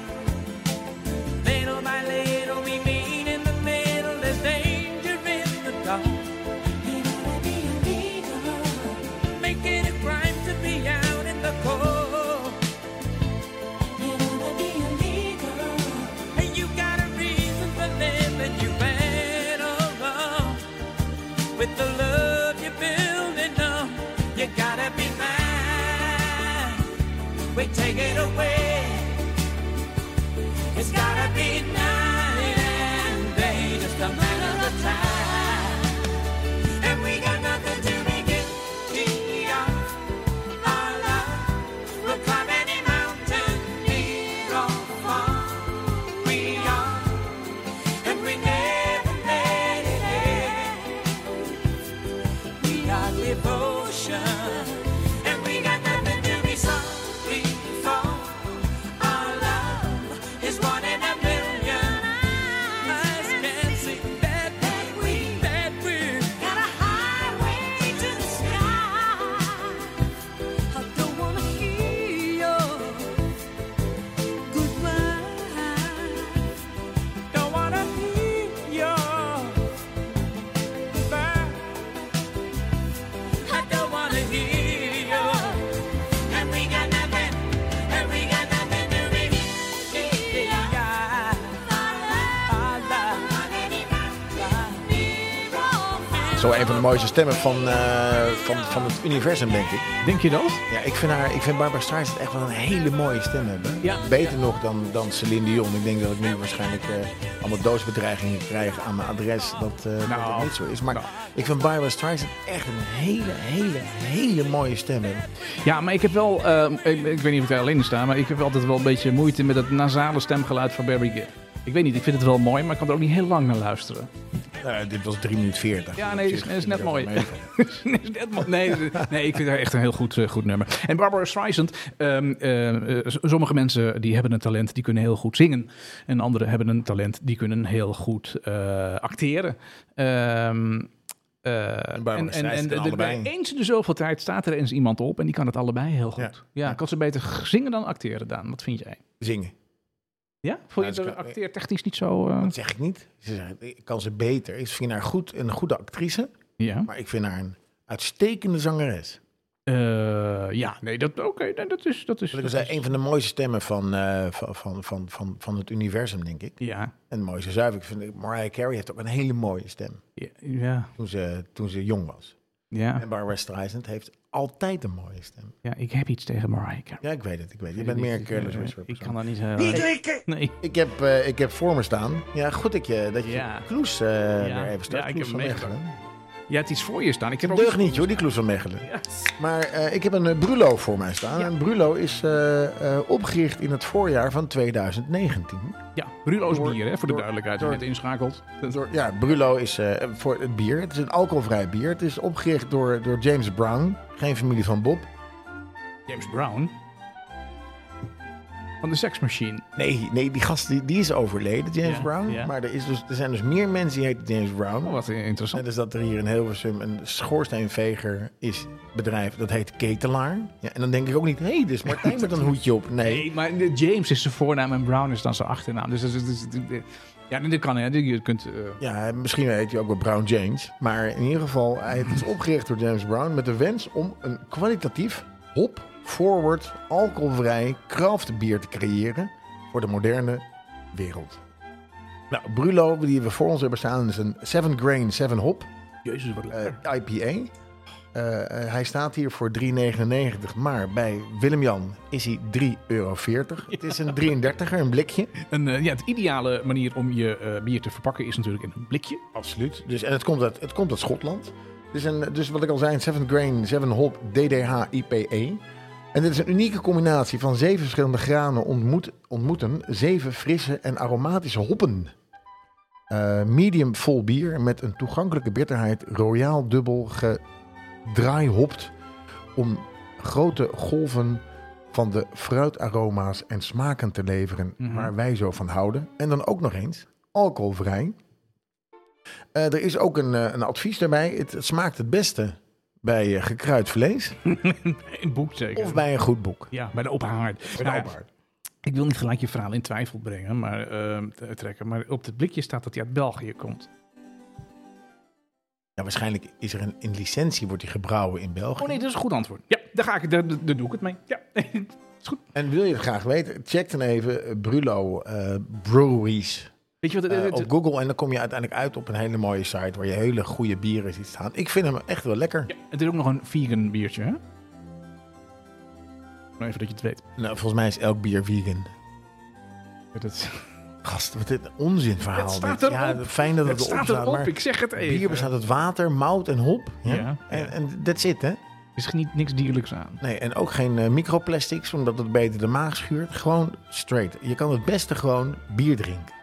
Speaker 5: Little by little we meet in the middle, there's danger in the dark. It ought to be illegal, make it a crime to be out in the cold. It ought to be illegal, and you got a reason for living, you better run with the love you're building up. You gotta be mine. We take
Speaker 1: zo een van de mooiste stemmen van, eh, van, van het universum, denk ik.
Speaker 2: Denk je dat?
Speaker 1: Ja, ik vind, haar, ik vind Barbara Streisand echt wel een hele mooie stem hebben.
Speaker 2: Ja.
Speaker 1: Beter nog dan, dan Celine Dion. Ik denk dat ik nu waarschijnlijk eh, allemaal doosbedreigingen krijg aan mijn adres. Dat, eh, dat
Speaker 2: Nou.
Speaker 1: het niet zo is. Maar
Speaker 2: Nou.
Speaker 1: ik vind Barbara Streisand echt een hele, hele, hele mooie stem hebben.
Speaker 2: Ja, maar ik heb wel, ehm, ik, ik weet niet of ik daar alleen in sta, maar ik heb altijd wel een beetje moeite met het nasale stemgeluid van Barry Gibb. Ik weet niet, ik vind het wel mooi, maar ik kan er ook niet heel lang naar luisteren.
Speaker 1: Nou, dit was 3 minuten 40.
Speaker 2: Ja, nee,
Speaker 1: Op
Speaker 2: is-
Speaker 1: zich vind
Speaker 2: is
Speaker 1: ik
Speaker 2: net
Speaker 1: dat
Speaker 2: mooi.
Speaker 1: wel meevallen.
Speaker 2: nee, nee, nee, ik vind haar echt een heel goed, eh, goed nummer. En Barbara Streisand, ehm, eh, eh, s- sommige mensen die hebben een talent, die kunnen heel goed zingen. En anderen hebben een talent, die kunnen heel goed eh, acteren. Ehm, eh, en
Speaker 1: Barbara Streisand kan
Speaker 2: de- bij
Speaker 1: allebei.
Speaker 2: eens in de zoveel tijd staat er eens iemand op en die kan het allebei heel goed.
Speaker 1: Ja.
Speaker 2: Ja, kan ze beter g- zingen dan acteren, Daan? Wat vind jij?
Speaker 1: Zingen.
Speaker 2: Ja? Vond je
Speaker 1: Nou, ze
Speaker 2: de
Speaker 1: kan-
Speaker 2: acteertechnisch niet zo... eh,
Speaker 1: Dat zeg ik niet. Ze zeggen, ik kan ze beter. Ik vind haar goed, een goede actrice.
Speaker 2: ja.
Speaker 1: Maar ik vind haar een uitstekende zangeres.
Speaker 2: Eh, ja, nee, dat, oké, nee, dat is... Dat is,
Speaker 1: Dat
Speaker 2: dat
Speaker 1: is
Speaker 2: is-
Speaker 1: een van de mooiste stemmen van, eh, van, van, van, van, van het universum, denk ik.
Speaker 2: ja,
Speaker 1: En de mooiste zuiver. Ik vind Mariah Carey heeft ook een hele mooie stem
Speaker 2: ja, ja,
Speaker 1: toen ze, toen ze jong was.
Speaker 2: ja.
Speaker 1: En Barbara Streisand heeft altijd een mooie stem.
Speaker 2: Ja, ik heb iets tegen Mariah Carey.
Speaker 1: Ja, ik weet het, ik weet het. Je bent meer een careless whisper
Speaker 2: Ik
Speaker 1: persoon.
Speaker 2: kan daar niet... eh, nee.
Speaker 1: Ik heb, eh, ik heb voor me staan. Ja, goed dat je, dat je
Speaker 2: Ja.
Speaker 1: Kloes eh weer even staat.
Speaker 2: Ja, ik
Speaker 1: Kloes
Speaker 2: heb
Speaker 1: van
Speaker 2: hem
Speaker 1: Mechelen.
Speaker 2: Je hebt iets voor je staan. Ik heb ook...
Speaker 1: Deug niet hoor, die Kloes van Mechelen. Maar eh, ik heb een eh, Brulo voor mij staan. En Brulo is eh, eh, opgericht in het voorjaar van 2019.
Speaker 2: Ja, Brulo's
Speaker 1: Door-
Speaker 2: bier, hè, voor
Speaker 1: door-
Speaker 2: de duidelijkheid.
Speaker 1: door-
Speaker 2: Door, net inschakeld.
Speaker 1: Door- ja, Brulo is eh, voor het bier. Het is een alcoholvrij bier. Het is opgericht door, door James Brown. Geen familie van Bob.
Speaker 2: James Brown. Van de Sex Machine.
Speaker 1: Nee, nee die gast die, die is overleden, James
Speaker 2: Ja,
Speaker 1: Brown.
Speaker 2: ja.
Speaker 1: Maar er, is dus, er zijn dus meer mensen die heten James Brown.
Speaker 2: Oh, wat interessant.
Speaker 1: Net als dat er hier in Hilversum een schoorsteenveger is bedrijf. Dat heet Ketelaar. Ja, en dan denk ik ook niet, hé, hey, dit is Martijn met een hoedje op. Nee.
Speaker 2: Nee, maar de James is zijn voornaam en Brown is dan zijn achternaam. Dus dat is... dat is- Ja, nee, dat kan, hè. Je kunt... eh,
Speaker 1: Ja, misschien heet hij ook wel Brown James. Maar in ieder geval, hij is opgericht door James Brown met de wens om een kwalitatief, hop-forward, alcoholvrij kraftbier te creëren voor de moderne wereld. Nou, Brulo, die we voor ons hebben staan, is een 7 grain, 7 hop.
Speaker 2: Jezus, wat
Speaker 1: eh,
Speaker 2: lekker.
Speaker 1: IPA. Eh, eh, hij staat hier voor 3,99, maar bij Willem-Jan is hij 3,40 euro. Het is een 33er, een blikje.
Speaker 2: En, eh, ja, het ideale manier om je eh, bier te verpakken is natuurlijk in een blikje.
Speaker 1: Absoluut. Dus, en het komt uit, het komt uit Schotland. Dus, een, dus wat ik al zei, een 7 grain, 7 hop, DDH, IPE. E. En dit is een unieke combinatie van zeven verschillende granen ontmoet, ontmoeten. Zeven frisse en aromatische hoppen. Eh, medium vol bier met een toegankelijke bitterheid. Royaal dubbel gedraaihopt. Om grote golven van de fruitaroma's en smaken te leveren.
Speaker 2: Mhm.
Speaker 1: Waar wij zo van houden. En dan ook nog eens alcoholvrij. Eh, er is ook een, eh, een advies daarbij. Het, het smaakt het beste bij eh, gekruid vlees
Speaker 2: In boek zeker.
Speaker 1: of bij een goed boek.
Speaker 2: Ja, bij de ophanger. Nou,
Speaker 1: Betrouwbaar.
Speaker 2: Ik wil niet gelijk je verhaal in twijfel brengen, maar, ehm, te- trekken, maar op het blikje staat dat hij uit België komt.
Speaker 1: Ja, waarschijnlijk is er een, in licentie wordt die gebrouwen in België.
Speaker 2: Oh nee, dat is een goed antwoord. Ja, daar, ga ik, daar, daar- daar doe ik het mee. Ja, is goed.
Speaker 1: En wil je het graag weten? Check dan even eh, Brulo eh, Breweries
Speaker 2: Weet je wat?
Speaker 1: eh,
Speaker 2: het- het-
Speaker 1: op Google. En dan kom je uiteindelijk uit op een hele mooie site waar je hele goede bieren ziet staan. Ik vind hem echt wel lekker.
Speaker 2: ja, het is ook nog een vegan biertje, hè? Maar even dat je het weet.
Speaker 1: Nou, volgens mij is elk bier vegan.
Speaker 2: Het, het,
Speaker 1: Gast, wat dit een onzinverhaal.
Speaker 2: Het staat
Speaker 1: dit.
Speaker 2: erop.
Speaker 1: fijn dat het,
Speaker 2: het staat
Speaker 1: erop staat.
Speaker 2: erop,
Speaker 1: maar
Speaker 2: ik zeg het even.
Speaker 1: bier bestaat uit water, mout en hop. Ja.
Speaker 2: Ja.
Speaker 1: En, en that's it, hè?
Speaker 2: Er is niet, niks dierlijks aan.
Speaker 1: Nee, en ook geen eh, microplastics, omdat het beter de maag schuurt. Gewoon straight. Je kan het beste gewoon bier drinken.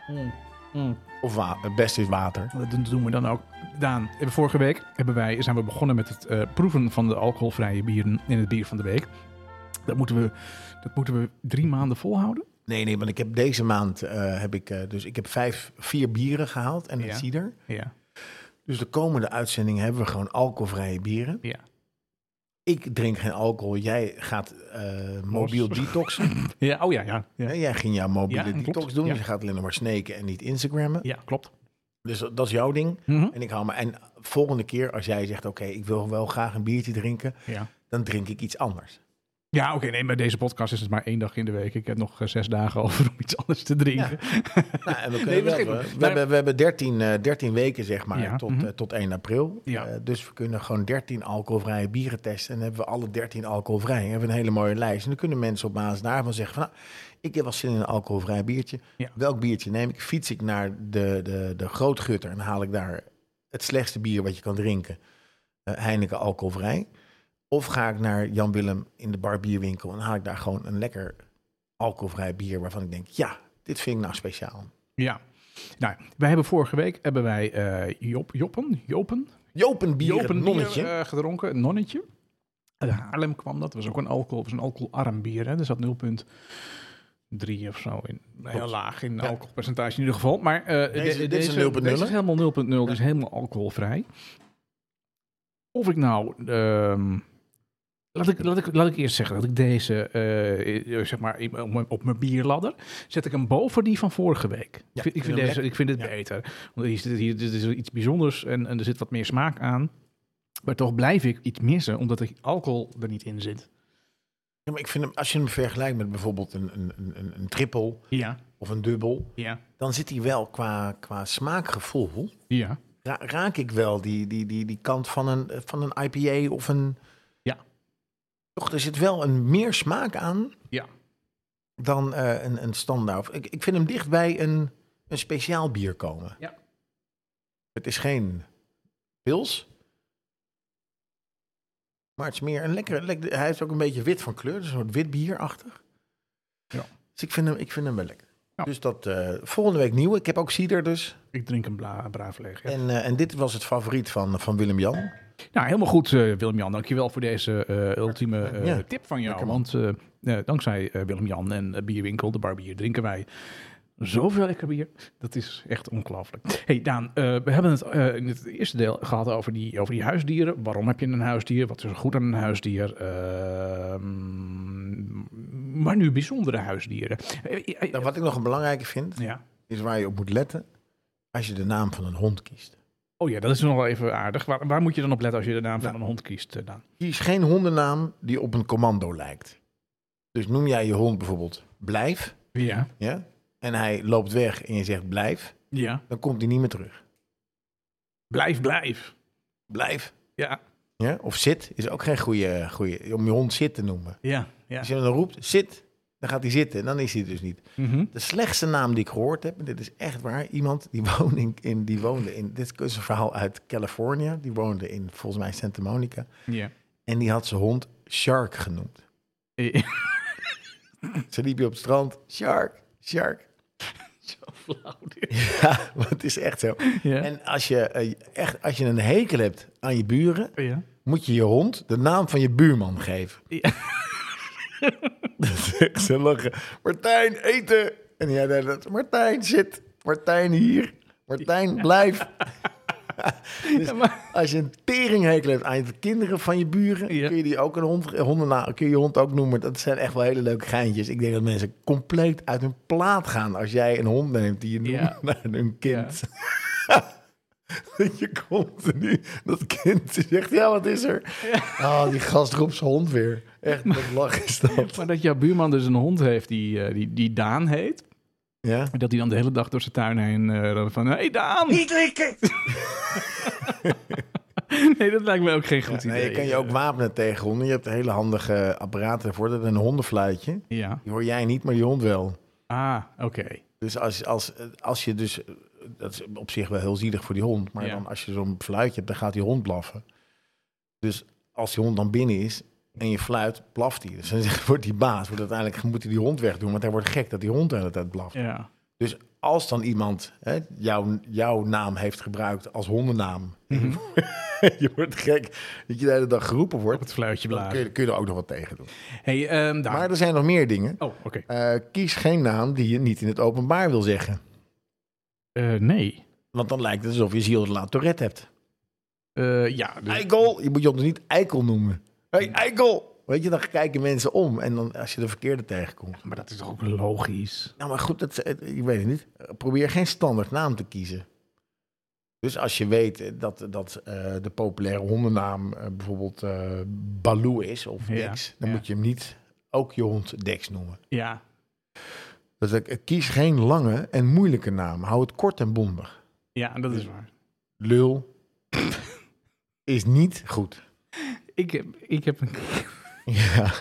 Speaker 2: Mm,
Speaker 1: Of wa- het beste is water.
Speaker 2: Dat doen we dan ook. Daan, hebben vorige week hebben wij, zijn we begonnen met het eh, proeven van de alcoholvrije bieren in het bier van de week. Dat moeten we, dat moeten we drie maanden volhouden.
Speaker 1: Nee, nee, want ik heb deze maand eh, heb ik, eh, dus ik heb vijf, vier bieren gehaald en een
Speaker 2: Ja.
Speaker 1: cider.
Speaker 2: Ja,
Speaker 1: Dus de komende uitzending hebben we gewoon alcoholvrije bieren.
Speaker 2: ja.
Speaker 1: Ik drink geen alcohol. Jij gaat eh, mobiel detoxen.
Speaker 2: ja oh ja, ja.
Speaker 1: Hè,
Speaker 2: Ja,
Speaker 1: Jij ging jouw mobiele
Speaker 2: Ja, klopt.
Speaker 1: detox doen.
Speaker 2: Ja.
Speaker 1: Dus je gaat alleen nog maar snaken en niet Instagrammen.
Speaker 2: ja klopt.
Speaker 1: Dus dat, dat is jouw ding.
Speaker 2: Mhm.
Speaker 1: En ik hou me. En volgende keer als jij zegt: Oké, ik wil wel graag een biertje drinken.
Speaker 2: Ja.
Speaker 1: dan drink ik iets anders.
Speaker 2: Ja, oké, nee, maar deze podcast is het maar één dag in de week. Ik heb nog eh, zes dagen over om iets anders te drinken.
Speaker 1: Nou, en we, kunnen
Speaker 2: Nee,
Speaker 1: wel,
Speaker 2: Nou, begrijp
Speaker 1: eh,
Speaker 2: ik.
Speaker 1: we,
Speaker 2: Maar-
Speaker 1: hebben, we hebben 13, eh, 13 weken, zeg maar,
Speaker 2: Ja,
Speaker 1: tot,
Speaker 2: mhm.
Speaker 1: eh, tot 1 april.
Speaker 2: Ja.
Speaker 1: Eh, dus we kunnen gewoon 13 alcoholvrije bieren testen. En dan hebben we alle 13 alcoholvrij. Dan hebben we een hele mooie lijst. En dan kunnen mensen op basis daarvan zeggen van... Nou, ik heb wel zin in een alcoholvrij biertje.
Speaker 2: Ja.
Speaker 1: Welk biertje neem ik? Fiets ik naar de, de, de grootgutter en haal ik daar het slechtste bier wat je kan drinken. eh, Heineken alcoholvrij. Of ga ik naar Jan Willem in de barbierwinkel en haal ik daar gewoon een lekker alcoholvrij bier waarvan ik denk, ja, dit vind ik nou speciaal.
Speaker 2: Ja. Nou, wij hebben vorige week hebben wij eh, Job, Joppen, Jopen,
Speaker 1: Jopen bier,
Speaker 2: Joop
Speaker 1: het
Speaker 2: een
Speaker 1: nonnetje.
Speaker 2: nonnetje. eh, gedronken, een nonnetje. Uit Haarlem kwam dat. was ook een alcohol, was een alcoholarm bier. Hè. Er zat 0,3 of zo in. Nou, Heel laag in alcoholpercentage in ieder geval. Maar eh,
Speaker 1: Deze- dit is een 0,0,
Speaker 2: Deze
Speaker 1: hè?
Speaker 2: is helemaal 0,0, dus helemaal alcoholvrij. Of ik nou... ehm, Laat ik, laat, ik, laat ik eerst zeggen dat ik deze, eh, eh, zeg maar, in- op mijn- op mijn bierladder, zet ik hem boven die van vorige week. ik, vind,
Speaker 1: vind
Speaker 2: ik, vind
Speaker 1: hem
Speaker 2: deze, ik vind het beter. Want hier, zit- hier, dit is iets bijzonders en, en er zit wat meer smaak aan. Maar toch blijf ik iets missen, omdat de alcohol er niet in zit.
Speaker 1: Ja, maar ik vind hem, als je hem vergelijkt met bijvoorbeeld een, een, een- een, een triple
Speaker 2: Ja,
Speaker 1: of een dubbel,
Speaker 2: ja,
Speaker 1: dan zit hij wel qua, qua smaakgevoel.
Speaker 2: ja.
Speaker 1: ra- raak ik wel die, die, die, die kant van een, van een IPA of een.
Speaker 2: Ja.
Speaker 1: Toch, er zit wel een meer smaak aan
Speaker 2: Ja.
Speaker 1: dan eh, een, een standaard. Ik, ik vind hem dicht bij een, een speciaal bier komen.
Speaker 2: Ja.
Speaker 1: Het is geen pils. Maar het is meer een lekkere. lekker- hij is ook een beetje wit van kleur, dus een soort wit bierachtig.
Speaker 2: Ja.
Speaker 1: Dus ik vind hem, ik vind hem wel lekker.
Speaker 2: Ja.
Speaker 1: Dus dat eh, volgende week nieuw. Ik heb ook cider dus.
Speaker 2: Ik drink hem bla, braaf leeg. ja.
Speaker 1: En, eh, en dit was het favoriet van, van Willem-Jan.
Speaker 2: Nou, helemaal goed, eh, Willem-Jan. Dankjewel voor deze eh, ultieme eh,
Speaker 1: Ja.
Speaker 2: tip van jou.
Speaker 1: Lekker, man.
Speaker 2: want eh, eh, dankzij eh, Willem-Jan en eh, Bierwinkel, de barbier, drinken wij zoveel lekker bier. Dat is echt ongelooflijk. hey Daan, eh, we hebben het eh, in het eerste deel gehad over die, over die huisdieren. Waarom heb je een huisdier? Wat is er goed aan een huisdier? Ehm, maar nu bijzondere huisdieren. Eh, eh, eh,
Speaker 1: Nou, wat ik nog een belangrijke vind,
Speaker 2: ja.
Speaker 1: is waar je op moet letten als je de naam van een hond kiest.
Speaker 2: Oh ja, dat is nog wel even aardig. Waar, waar moet je dan op letten als je de naam van een hond kiest, eh, Daan?
Speaker 1: Kies geen hondennaam die op een commando lijkt. Dus noem jij je hond bijvoorbeeld Blijf,
Speaker 2: Ja.
Speaker 1: ja? en hij loopt weg en je zegt Blijf,
Speaker 2: Ja.
Speaker 1: dan komt hij niet meer terug.
Speaker 2: Blijf, blijf.
Speaker 1: Blijf.
Speaker 2: Ja.
Speaker 1: Ja? Of Zit is ook geen goede, goede, om je hond Zit te noemen.
Speaker 2: Ja. ja.
Speaker 1: Als je hem dan roept Zit, dan gaat hij zitten en dan is hij het dus niet.
Speaker 2: Mhm.
Speaker 1: De slechtste naam die ik gehoord heb, en dit is echt waar, iemand die, woonde in- in, die woonde in, dit is een verhaal uit Californië, die woonde in volgens mij Santa Monica.
Speaker 2: Ja.
Speaker 1: En die had zijn hond Shark genoemd. Ze liep je op het strand. Shark, Shark.
Speaker 2: Zo flauw.
Speaker 1: Ja, want het is echt zo.
Speaker 2: Ja.
Speaker 1: En als je, eh, echt, als je een hekel hebt aan je buren,
Speaker 2: Ja.
Speaker 1: moet je je hond de naam van je buurman geven.
Speaker 2: Ja.
Speaker 1: Dat is echt zo lachen. Martijn, eten! En jij deed dat. Martijn, zit. Martijn, hier. Martijn, blijf. Dus als je een teringhekel hebt aan de kinderen van je buren,
Speaker 2: Ja.
Speaker 1: kun je die ook een hond, eh, hondenna, kun je, je hond ook noemen. Dat zijn echt wel hele leuke geintjes. Ik denk dat mensen compleet uit hun plaat gaan als jij een hond neemt die je noemt
Speaker 2: Ja.
Speaker 1: naar hun kind. Dat je continu dat kind zegt, ja, wat is er? Oh, die gast roept zijn hond weer. Echt, wat lach is dat.
Speaker 2: Maar dat jouw buurman dus een hond heeft die, eh, die, die Daan heet.
Speaker 1: Ja?
Speaker 2: Dat hij dan de hele dag door zijn tuin heen eh, roept van... Hé hey Daan!
Speaker 3: Niet likken!
Speaker 2: Nee, dat lijkt me ook geen goed idee.
Speaker 1: Nee, je kan je ook wapenen tegen honden. Je hebt hele handige apparaten ervoor. Dat is een hondenfluitje.
Speaker 2: Ja.
Speaker 1: Die hoor jij niet, maar die hond wel.
Speaker 2: Ah, oké.
Speaker 1: Dus als, als, als je dus... Dat is op zich wel heel zielig voor die hond. Maar
Speaker 2: Ja.
Speaker 1: dan als je zo'n fluitje hebt, dan gaat die hond blaffen. Dus als die hond dan binnen is en je fluit, blaft hij. Dus dan wordt die baas. Wordt uiteindelijk moet hij die hond wegdoen. Want hij wordt gek dat die hond de hele tijd blaft.
Speaker 2: Ja.
Speaker 1: Dus als dan iemand hè, jouw, jouw naam heeft gebruikt als hondennaam...
Speaker 2: Mhm.
Speaker 1: je wordt gek dat je de hele dag geroepen wordt.
Speaker 2: Het fluitje
Speaker 1: Dan kun
Speaker 2: blazen.
Speaker 1: je, kun je er ook nog wat tegen doen.
Speaker 2: hey, ehm, Daan.
Speaker 1: Maar er zijn nog meer dingen.
Speaker 2: Oh, oké.
Speaker 1: Eh, kies geen naam die je niet in het openbaar wil zeggen.
Speaker 2: Eh, nee.
Speaker 1: Want dan lijkt het alsof je Gilles de La Tourette hebt.
Speaker 2: Eh, ja, dus-
Speaker 1: Eikel, je moet je ons niet Eikel noemen. hey, Eikel! Weet je, dan kijken mensen om. En dan als je de verkeerde tegenkomt.
Speaker 2: maar dat is toch ook logisch?
Speaker 1: Nou, maar goed, dat, eh, ik weet het niet. Probeer geen standaard naam te kiezen. Dus als je weet eh, dat, dat eh, de populaire hondennaam eh, bijvoorbeeld eh Baloo is of
Speaker 2: Ja,
Speaker 1: niks, dan
Speaker 2: ja.
Speaker 1: moet je hem niet ook je hond Dex noemen.
Speaker 2: Ja.
Speaker 1: Dat ik, ik kies geen lange en moeilijke naam. Hou het kort en bondig.
Speaker 2: ja, dat is waar.
Speaker 1: Lul is niet goed.
Speaker 2: Ik heb, ik heb een
Speaker 1: Ja.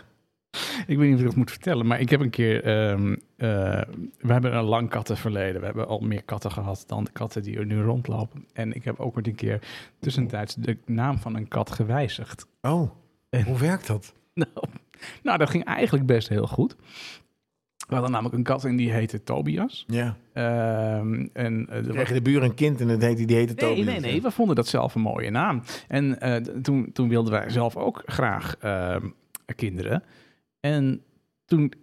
Speaker 2: Ik weet niet of ik dat moet vertellen, maar ik heb een keer. ehm, eh, we hebben een lang kattenverleden. We hebben al meer katten gehad dan de katten die er nu rondlopen. En ik heb ook ooit een keer tussentijds de naam van een kat gewijzigd.
Speaker 1: Oh, hoe werkt dat?
Speaker 2: Nou, nou dat ging eigenlijk best heel goed. We hadden namelijk een kat en die heette Tobias.
Speaker 1: Ja.
Speaker 2: Ehm, en, eh, er was-
Speaker 1: Krijg je de buur een kind en het heet, die heette
Speaker 2: Nee,
Speaker 1: Tobias.
Speaker 2: nee, nee, we vonden dat zelf een mooie naam. En eh, d- toen, toen wilden wij zelf ook graag ehm, kinderen. En toen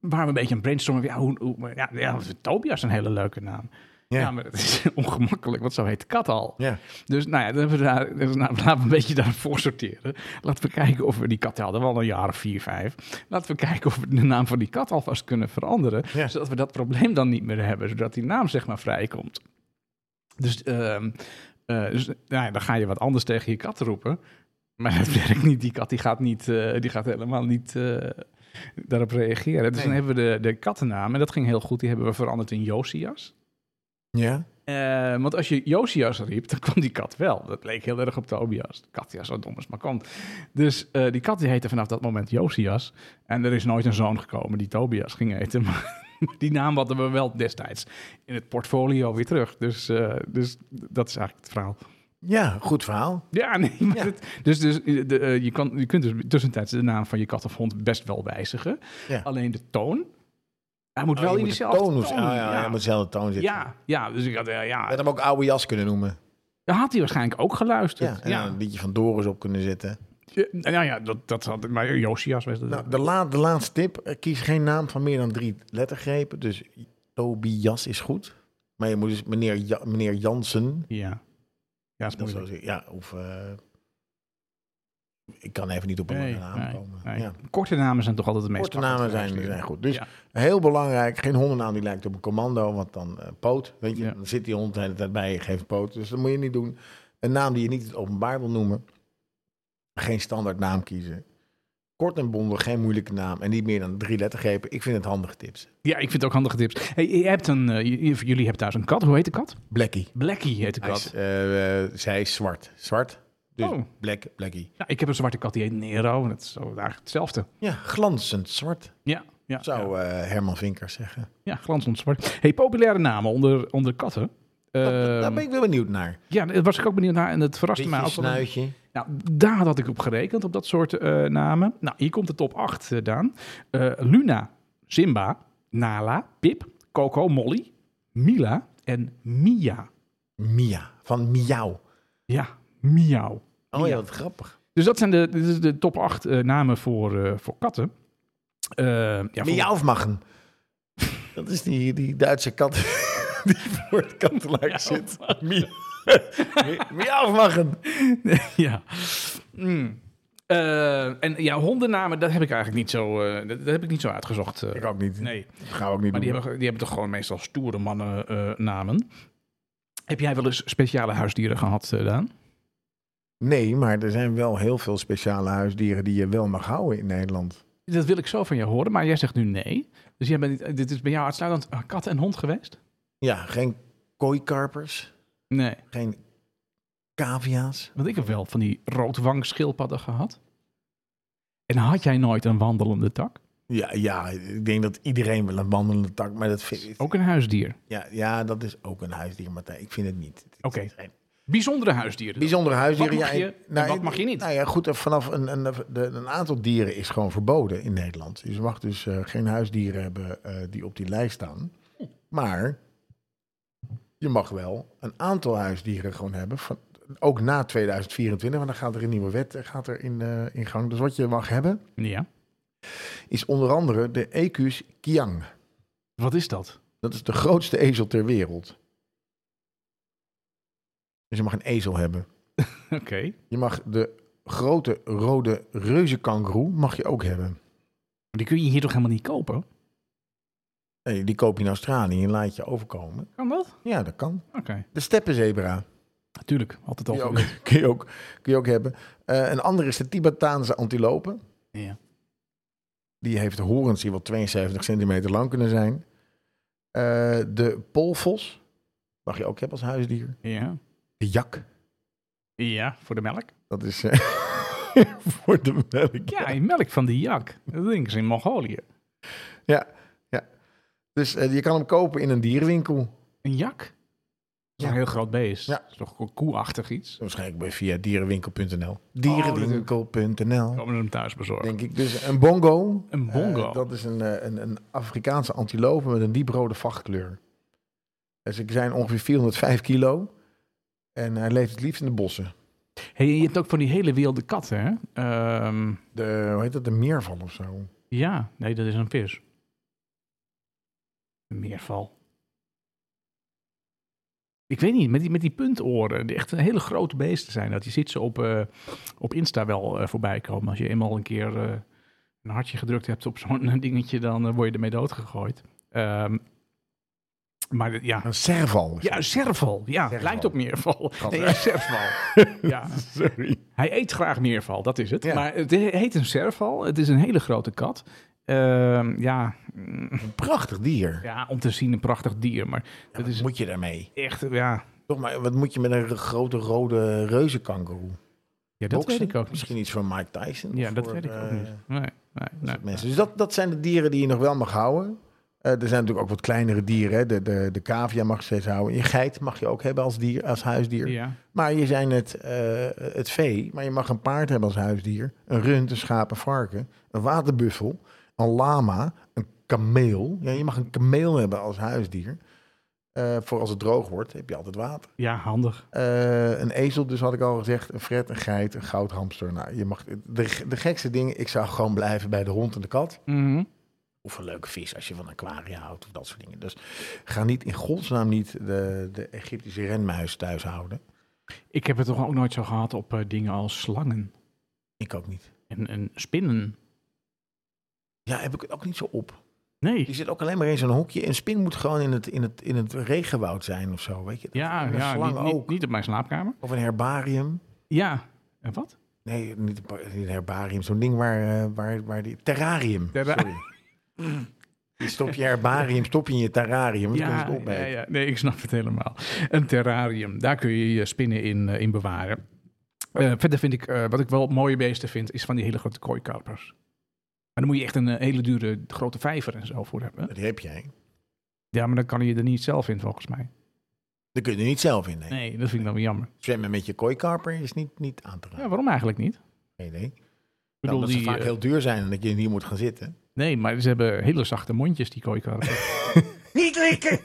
Speaker 2: waren we een beetje aan het brainstormen. Ja, hoe, hoe- maar ja, ja, Tobias een hele leuke naam. Ja.
Speaker 1: Ja.
Speaker 2: maar het is ongemakkelijk, want zo heet de kat al.
Speaker 1: Ja.
Speaker 2: Dus nou ja, dan hebben we daar, dus nou, laten we een beetje daarvoor sorteren. Laten we kijken of we die kat hadden, wel een jaar of vier, vijf. Laten we kijken of we de naam van die kat alvast kunnen veranderen.
Speaker 1: Ja.
Speaker 2: Zodat we dat probleem dan niet meer hebben, zodat die naam zeg maar vrijkomt. Dus, ehm, eh, dus nou ja, dan ga je wat anders tegen je kat roepen. Maar dat werkt niet. Die kat die gaat, niet, eh, die gaat helemaal niet eh, daarop reageren. Dus
Speaker 1: Nee.
Speaker 2: dan hebben we de, de kattennaam. En dat ging heel goed. Die hebben we veranderd in Josias.
Speaker 1: Ja.
Speaker 2: Eh, want als je Josias riep, dan kwam die kat wel. Dat leek heel erg op Tobias. Katja, zo dom als maar kan. Dus eh, die kat die heette vanaf dat moment Josias. En er is nooit een zoon gekomen die Tobias ging heten. Maar die naam hadden we wel destijds in het portfolio weer terug. Dus, eh, dus dat is eigenlijk het verhaal.
Speaker 1: Ja, goed verhaal.
Speaker 2: Ja, nee. Maar
Speaker 1: Ja.
Speaker 2: het- dus dus eh, de, eh, je, kan, je kunt dus tussentijds de naam van je kat of hond best wel wijzigen.
Speaker 1: Ja.
Speaker 2: Alleen de toon. Hij moet
Speaker 1: Oh,
Speaker 2: wel
Speaker 1: je
Speaker 2: in
Speaker 1: moet de
Speaker 2: dezelfde toon.
Speaker 1: of- ah, ja, ja.
Speaker 2: ja.
Speaker 1: je moet dezelfde toon zitten.
Speaker 2: Ja, ja, dus ik had, eh, ja,
Speaker 1: Je had hem ook oude jas kunnen noemen.
Speaker 2: Dan had hij waarschijnlijk ook geluisterd.
Speaker 1: Ja,
Speaker 2: Ja,
Speaker 1: en dan een liedje van Doris op kunnen zetten.
Speaker 2: Ja, nou ja, dat, dat had maar Josias was dat.
Speaker 1: Nou, de, la- de laatste tip. eh, Kies geen naam van meer dan drie lettergrepen. Dus Tobias is goed. Maar je moet dus meneer, ja, meneer Jansen.
Speaker 2: ja. Ja, is
Speaker 1: Dat zou
Speaker 2: moeilijk.
Speaker 1: zeggen. ja, of... eh, ik kan even niet op een
Speaker 2: Nee,
Speaker 1: lange naam
Speaker 2: nee,
Speaker 1: komen.
Speaker 2: nee.
Speaker 1: Ja.
Speaker 2: Korte namen zijn toch altijd de meest
Speaker 1: Korte namen
Speaker 2: makkelijk te
Speaker 1: zijn, zijn
Speaker 2: luisteren.
Speaker 1: goed. Dus
Speaker 2: Ja.
Speaker 1: heel belangrijk, geen hondennaam die lijkt op een commando, want dan eh, poot. Weet je,
Speaker 2: Ja.
Speaker 1: dan zit die hond de hele tijd bij je, geeft poot. Dus dat moet je niet doen. Een naam die je niet in het openbaar wil noemen. Geen standaard naam kiezen. Kort en bondig, geen moeilijke naam. En niet meer dan drie lettergrepen. Ik vind het handige tips.
Speaker 2: Ja, ik vind het ook handige tips. Hey, je hebt een, eh, je- je- jullie hebben thuis een kat. Hoe heet de kat?
Speaker 1: Blackie.
Speaker 2: Blackie heet de
Speaker 1: Hij is,
Speaker 2: kat.
Speaker 1: eh, eh, zij is zwart. Zwart. Dus
Speaker 2: Oh.
Speaker 1: black, Blackie.
Speaker 2: Ja, ik heb een zwarte kat die heet Nero. En dat is zo eigenlijk hetzelfde.
Speaker 1: Ja, glanzend zwart,
Speaker 2: Ja, ja, ja.
Speaker 1: zou eh, Herman Vinkers zeggen.
Speaker 2: ja glanzend zwart. Hey, populaire namen onder, onder katten.
Speaker 1: Dat- Daar
Speaker 2: Ehm,
Speaker 1: ben ik wel benieuwd naar.
Speaker 2: Ja, daar was ik ook benieuwd naar. En het verraste mij
Speaker 1: Beetje
Speaker 2: ook. wel.
Speaker 1: snuitje.
Speaker 2: Nou, daar had ik op gerekend, op dat soort eh, namen. Nou, hier komt de top 8, eh, Daan. Eh, Luna, Simba, Nala, Pip, Coco, Molly, Mila en Mia.
Speaker 1: Mia, van
Speaker 2: Oh
Speaker 1: Miauw.
Speaker 2: Ja, Miauw.
Speaker 1: Oh ja, wat grappig.
Speaker 2: Dus dat zijn de, dit is de top 8 eh, namen voor, eh, voor katten. Eh, ja, voor-
Speaker 1: Miauwmachen. Dat is die, die Duitse kat die voor het kantelaar zit. Mia- Miauwmachen.
Speaker 2: ja. Mm. Eh, en ja, hondennamen, dat heb ik eigenlijk niet zo, eh, dat, dat heb ik niet zo uitgezocht. eh.
Speaker 1: Ik ook niet.
Speaker 2: nee.
Speaker 1: Dat gaan we ook niet
Speaker 2: Maar
Speaker 1: doen.
Speaker 2: die hebben, die hebben toch gewoon meestal stoere mannen eh, namen. Heb jij wel eens speciale huisdieren gehad, eh, Daan?
Speaker 1: Nee, maar er zijn wel heel veel speciale huisdieren die je wel mag houden in Nederland.
Speaker 2: Dat wil ik zo van je horen, maar jij zegt nu nee. Dus jij bent, dit is bij jou uitsluitend eh, kat en hond geweest?
Speaker 1: Ja, geen kooikarpers,
Speaker 2: Nee.
Speaker 1: geen cavia's.
Speaker 2: Want ik heb wel van die roodwangschildpadden gehad. En had jij nooit een wandelende tak?
Speaker 1: Ja, ja, ik denk dat iedereen wil een wandelende tak, maar dat vind ik...
Speaker 2: Ook een huisdier.
Speaker 1: Ja, ja, dat is ook een huisdier, Martijn. Ik vind het niet.
Speaker 2: Oké.
Speaker 1: Het zijn
Speaker 2: Bijzondere huisdieren. dan?
Speaker 1: Bijzondere huisdieren.
Speaker 2: Wat mag
Speaker 1: ja,
Speaker 2: je en wat mag je niet?
Speaker 1: Nou ja, goed, eh, vanaf een, een, de- een aantal dieren is gewoon verboden in Nederland. Dus je mag dus eh, geen huisdieren hebben eh, die op die lijst staan. Maar je mag wel een aantal huisdieren gewoon hebben. Van, ook na 2024, want dan gaat er een nieuwe wet eh, gaat er in, eh, in gang. Dus wat je mag hebben,
Speaker 2: Ja.
Speaker 1: is onder andere de Equus Kiang.
Speaker 2: Wat is dat?
Speaker 1: Dat is de grootste ezel ter wereld. Dus je mag een ezel hebben.
Speaker 2: Oké.
Speaker 1: Je mag de grote rode reuzenkangoeroe mag je ook hebben.
Speaker 2: Die kun je hier toch helemaal niet kopen?
Speaker 1: Nee, die koop je in Australië en laat je overkomen.
Speaker 2: Kan dat?
Speaker 1: Ja, dat kan.
Speaker 2: Oké.
Speaker 1: De steppenzebra
Speaker 2: Natuurlijk. Altijd
Speaker 1: kun je
Speaker 2: al.
Speaker 1: ook, kun je ook, kun je ook hebben. Eh, een andere is de Tibetaanse antilope.
Speaker 2: Ja.
Speaker 1: Die heeft horens die wel 72 centimeter lang kunnen zijn. Eh, de polvos. Mag je ook hebben als huisdier.
Speaker 2: Ja.
Speaker 1: De jak.
Speaker 2: Ja, voor de melk.
Speaker 1: Dat is eh, voor de melk.
Speaker 2: Ja, die melk van die jak. Dat ding is in Mongolië.
Speaker 1: Ja, ja. Dus eh, je kan hem kopen in een dierenwinkel.
Speaker 2: Een jak? Dat is
Speaker 1: Ja.
Speaker 2: een heel groot beest.
Speaker 1: Ja.
Speaker 2: Dat is toch een koeachtig iets?
Speaker 1: Waarschijnlijk bij- via dierenwinkel.nl. Dierenwinkel.nl,
Speaker 2: Komen ze hem thuis bezorgen?
Speaker 1: denk ik. Dus een bongo.
Speaker 2: Oh, Een bongo.
Speaker 1: Eh, dat is een, eh, een, een Afrikaanse antilope met een dieprode vachtkleur. En Ze zijn ongeveer 405 kilo. En hij leeft het liefst in de bossen.
Speaker 2: Hey, je hebt ook van die hele wilde katten, hè? Ehm,
Speaker 1: De, hoe heet dat? De meerval of zo.
Speaker 2: ja, nee, dat is een vis. Een meerval. Ik weet niet, met die, met die puntoren, die echt een hele grote beesten zijn dat. Je ziet ze op, eh, op Insta wel eh, voorbij komen. Als je eenmaal een keer eh, een hartje gedrukt hebt op zo'n eh, dingetje, dan eh, word je ermee doodgegooid. Ehm, maar de- ja,
Speaker 1: Een serval. is
Speaker 2: Ja, een serval. Ja,
Speaker 1: Serval.
Speaker 2: lijkt op meerval.
Speaker 1: Gat,
Speaker 2: Nee,
Speaker 1: hè?
Speaker 2: een serval. ja.
Speaker 1: Sorry.
Speaker 2: Hij eet graag meerval, dat is het.
Speaker 1: Ja.
Speaker 2: Maar het heet een serval. Het is een hele grote kat. Ehm, ja, mm,
Speaker 1: Een prachtig dier.
Speaker 2: ja, om te zien een prachtig dier. Maar dat
Speaker 1: Wat
Speaker 2: is
Speaker 1: moet je daarmee?
Speaker 2: echt, ja...
Speaker 1: Toch maar, wat moet je met een grote rode reuzenkangoeroe?
Speaker 2: Ja, dat
Speaker 1: Boksen?
Speaker 2: weet ik ook niet.
Speaker 1: Misschien iets van Mike Tyson.
Speaker 2: Ja,
Speaker 1: of
Speaker 2: dat
Speaker 1: voor,
Speaker 2: weet ik ook
Speaker 1: eh,
Speaker 2: niet. Nee, nee, nee.
Speaker 1: mensen. Dus dat, dat zijn de dieren die je nog wel mag houden. Eh, er zijn natuurlijk ook wat kleinere dieren. Hè. De, de, de cavia mag je steeds houden. Je geit mag je ook hebben als, dier, als huisdier.
Speaker 2: Ja.
Speaker 1: Maar je zijn het, eh, het vee. Maar je mag een paard hebben als huisdier. Een rund, een schaap, een varken. Een waterbuffel. Een lama. Een kameel. Ja, je mag een kameel hebben als huisdier. Eh, voor als het droog wordt, heb je altijd water.
Speaker 2: ja, handig.
Speaker 1: Eh, een ezel, dus had ik al gezegd. Een fret, een geit, een goudhamster. Nou, je mag, de, de gekste dingen, ik zou gewoon blijven bij de hond en de kat.
Speaker 2: Mhm.
Speaker 1: Of een leuke vis als je van aquaria houdt of dat soort dingen. Dus ga niet in godsnaam niet de, de Egyptische renmuis thuis houden.
Speaker 2: Ik heb het toch ook nooit zo gehad op eh, dingen als slangen
Speaker 1: Ik ook niet.
Speaker 2: en, en spinnen.
Speaker 1: Ja, heb ik het ook niet zo op. Je
Speaker 2: Nee.
Speaker 1: zit ook alleen maar in zo'n hokje. Een spin moet gewoon in het, in het, in het regenwoud zijn of zo, weet je.
Speaker 2: Ja,
Speaker 1: En een
Speaker 2: ja
Speaker 1: slang
Speaker 2: niet, niet,
Speaker 1: ook.
Speaker 2: niet op mijn slaapkamer.
Speaker 1: Of een herbarium.
Speaker 2: Ja. En wat?
Speaker 1: Nee, niet een, par- niet een herbarium. Zo'n ding waar, eh, waar, waar die... Terrarium.
Speaker 2: Terra-
Speaker 1: Sorry. Die stop je herbarium, stop je in je terrarium. want dan kun je
Speaker 2: Ja,
Speaker 1: het opeten.
Speaker 2: ja, ja, nee, ik snap het helemaal. Een terrarium, daar kun je je spinnen in, eh, in bewaren. Eh, verder vind ik, eh, wat ik wel mooie beesten vind, is van die hele grote kooikarpers. Maar dan moet je echt een eh, hele dure grote vijver en zo voor hebben.
Speaker 1: Dat heb jij.
Speaker 2: Ja, maar dan kan je er niet zelf in, volgens mij.
Speaker 1: Dat kun je er niet zelf in. Nee.
Speaker 2: Nee, dat vind ik dan weer jammer.
Speaker 1: Zwemmen met je kooikarper is niet, niet aan te raden.
Speaker 2: Ja, waarom eigenlijk niet? Ik
Speaker 1: Nee, nee. Nou,
Speaker 2: bedoel,
Speaker 1: omdat
Speaker 2: die,
Speaker 1: ze vaak
Speaker 2: eh,
Speaker 1: heel duur zijn en dat je hier moet gaan zitten.
Speaker 2: Nee, maar ze hebben hele zachte mondjes, die kooikarpers.
Speaker 3: Niet likken!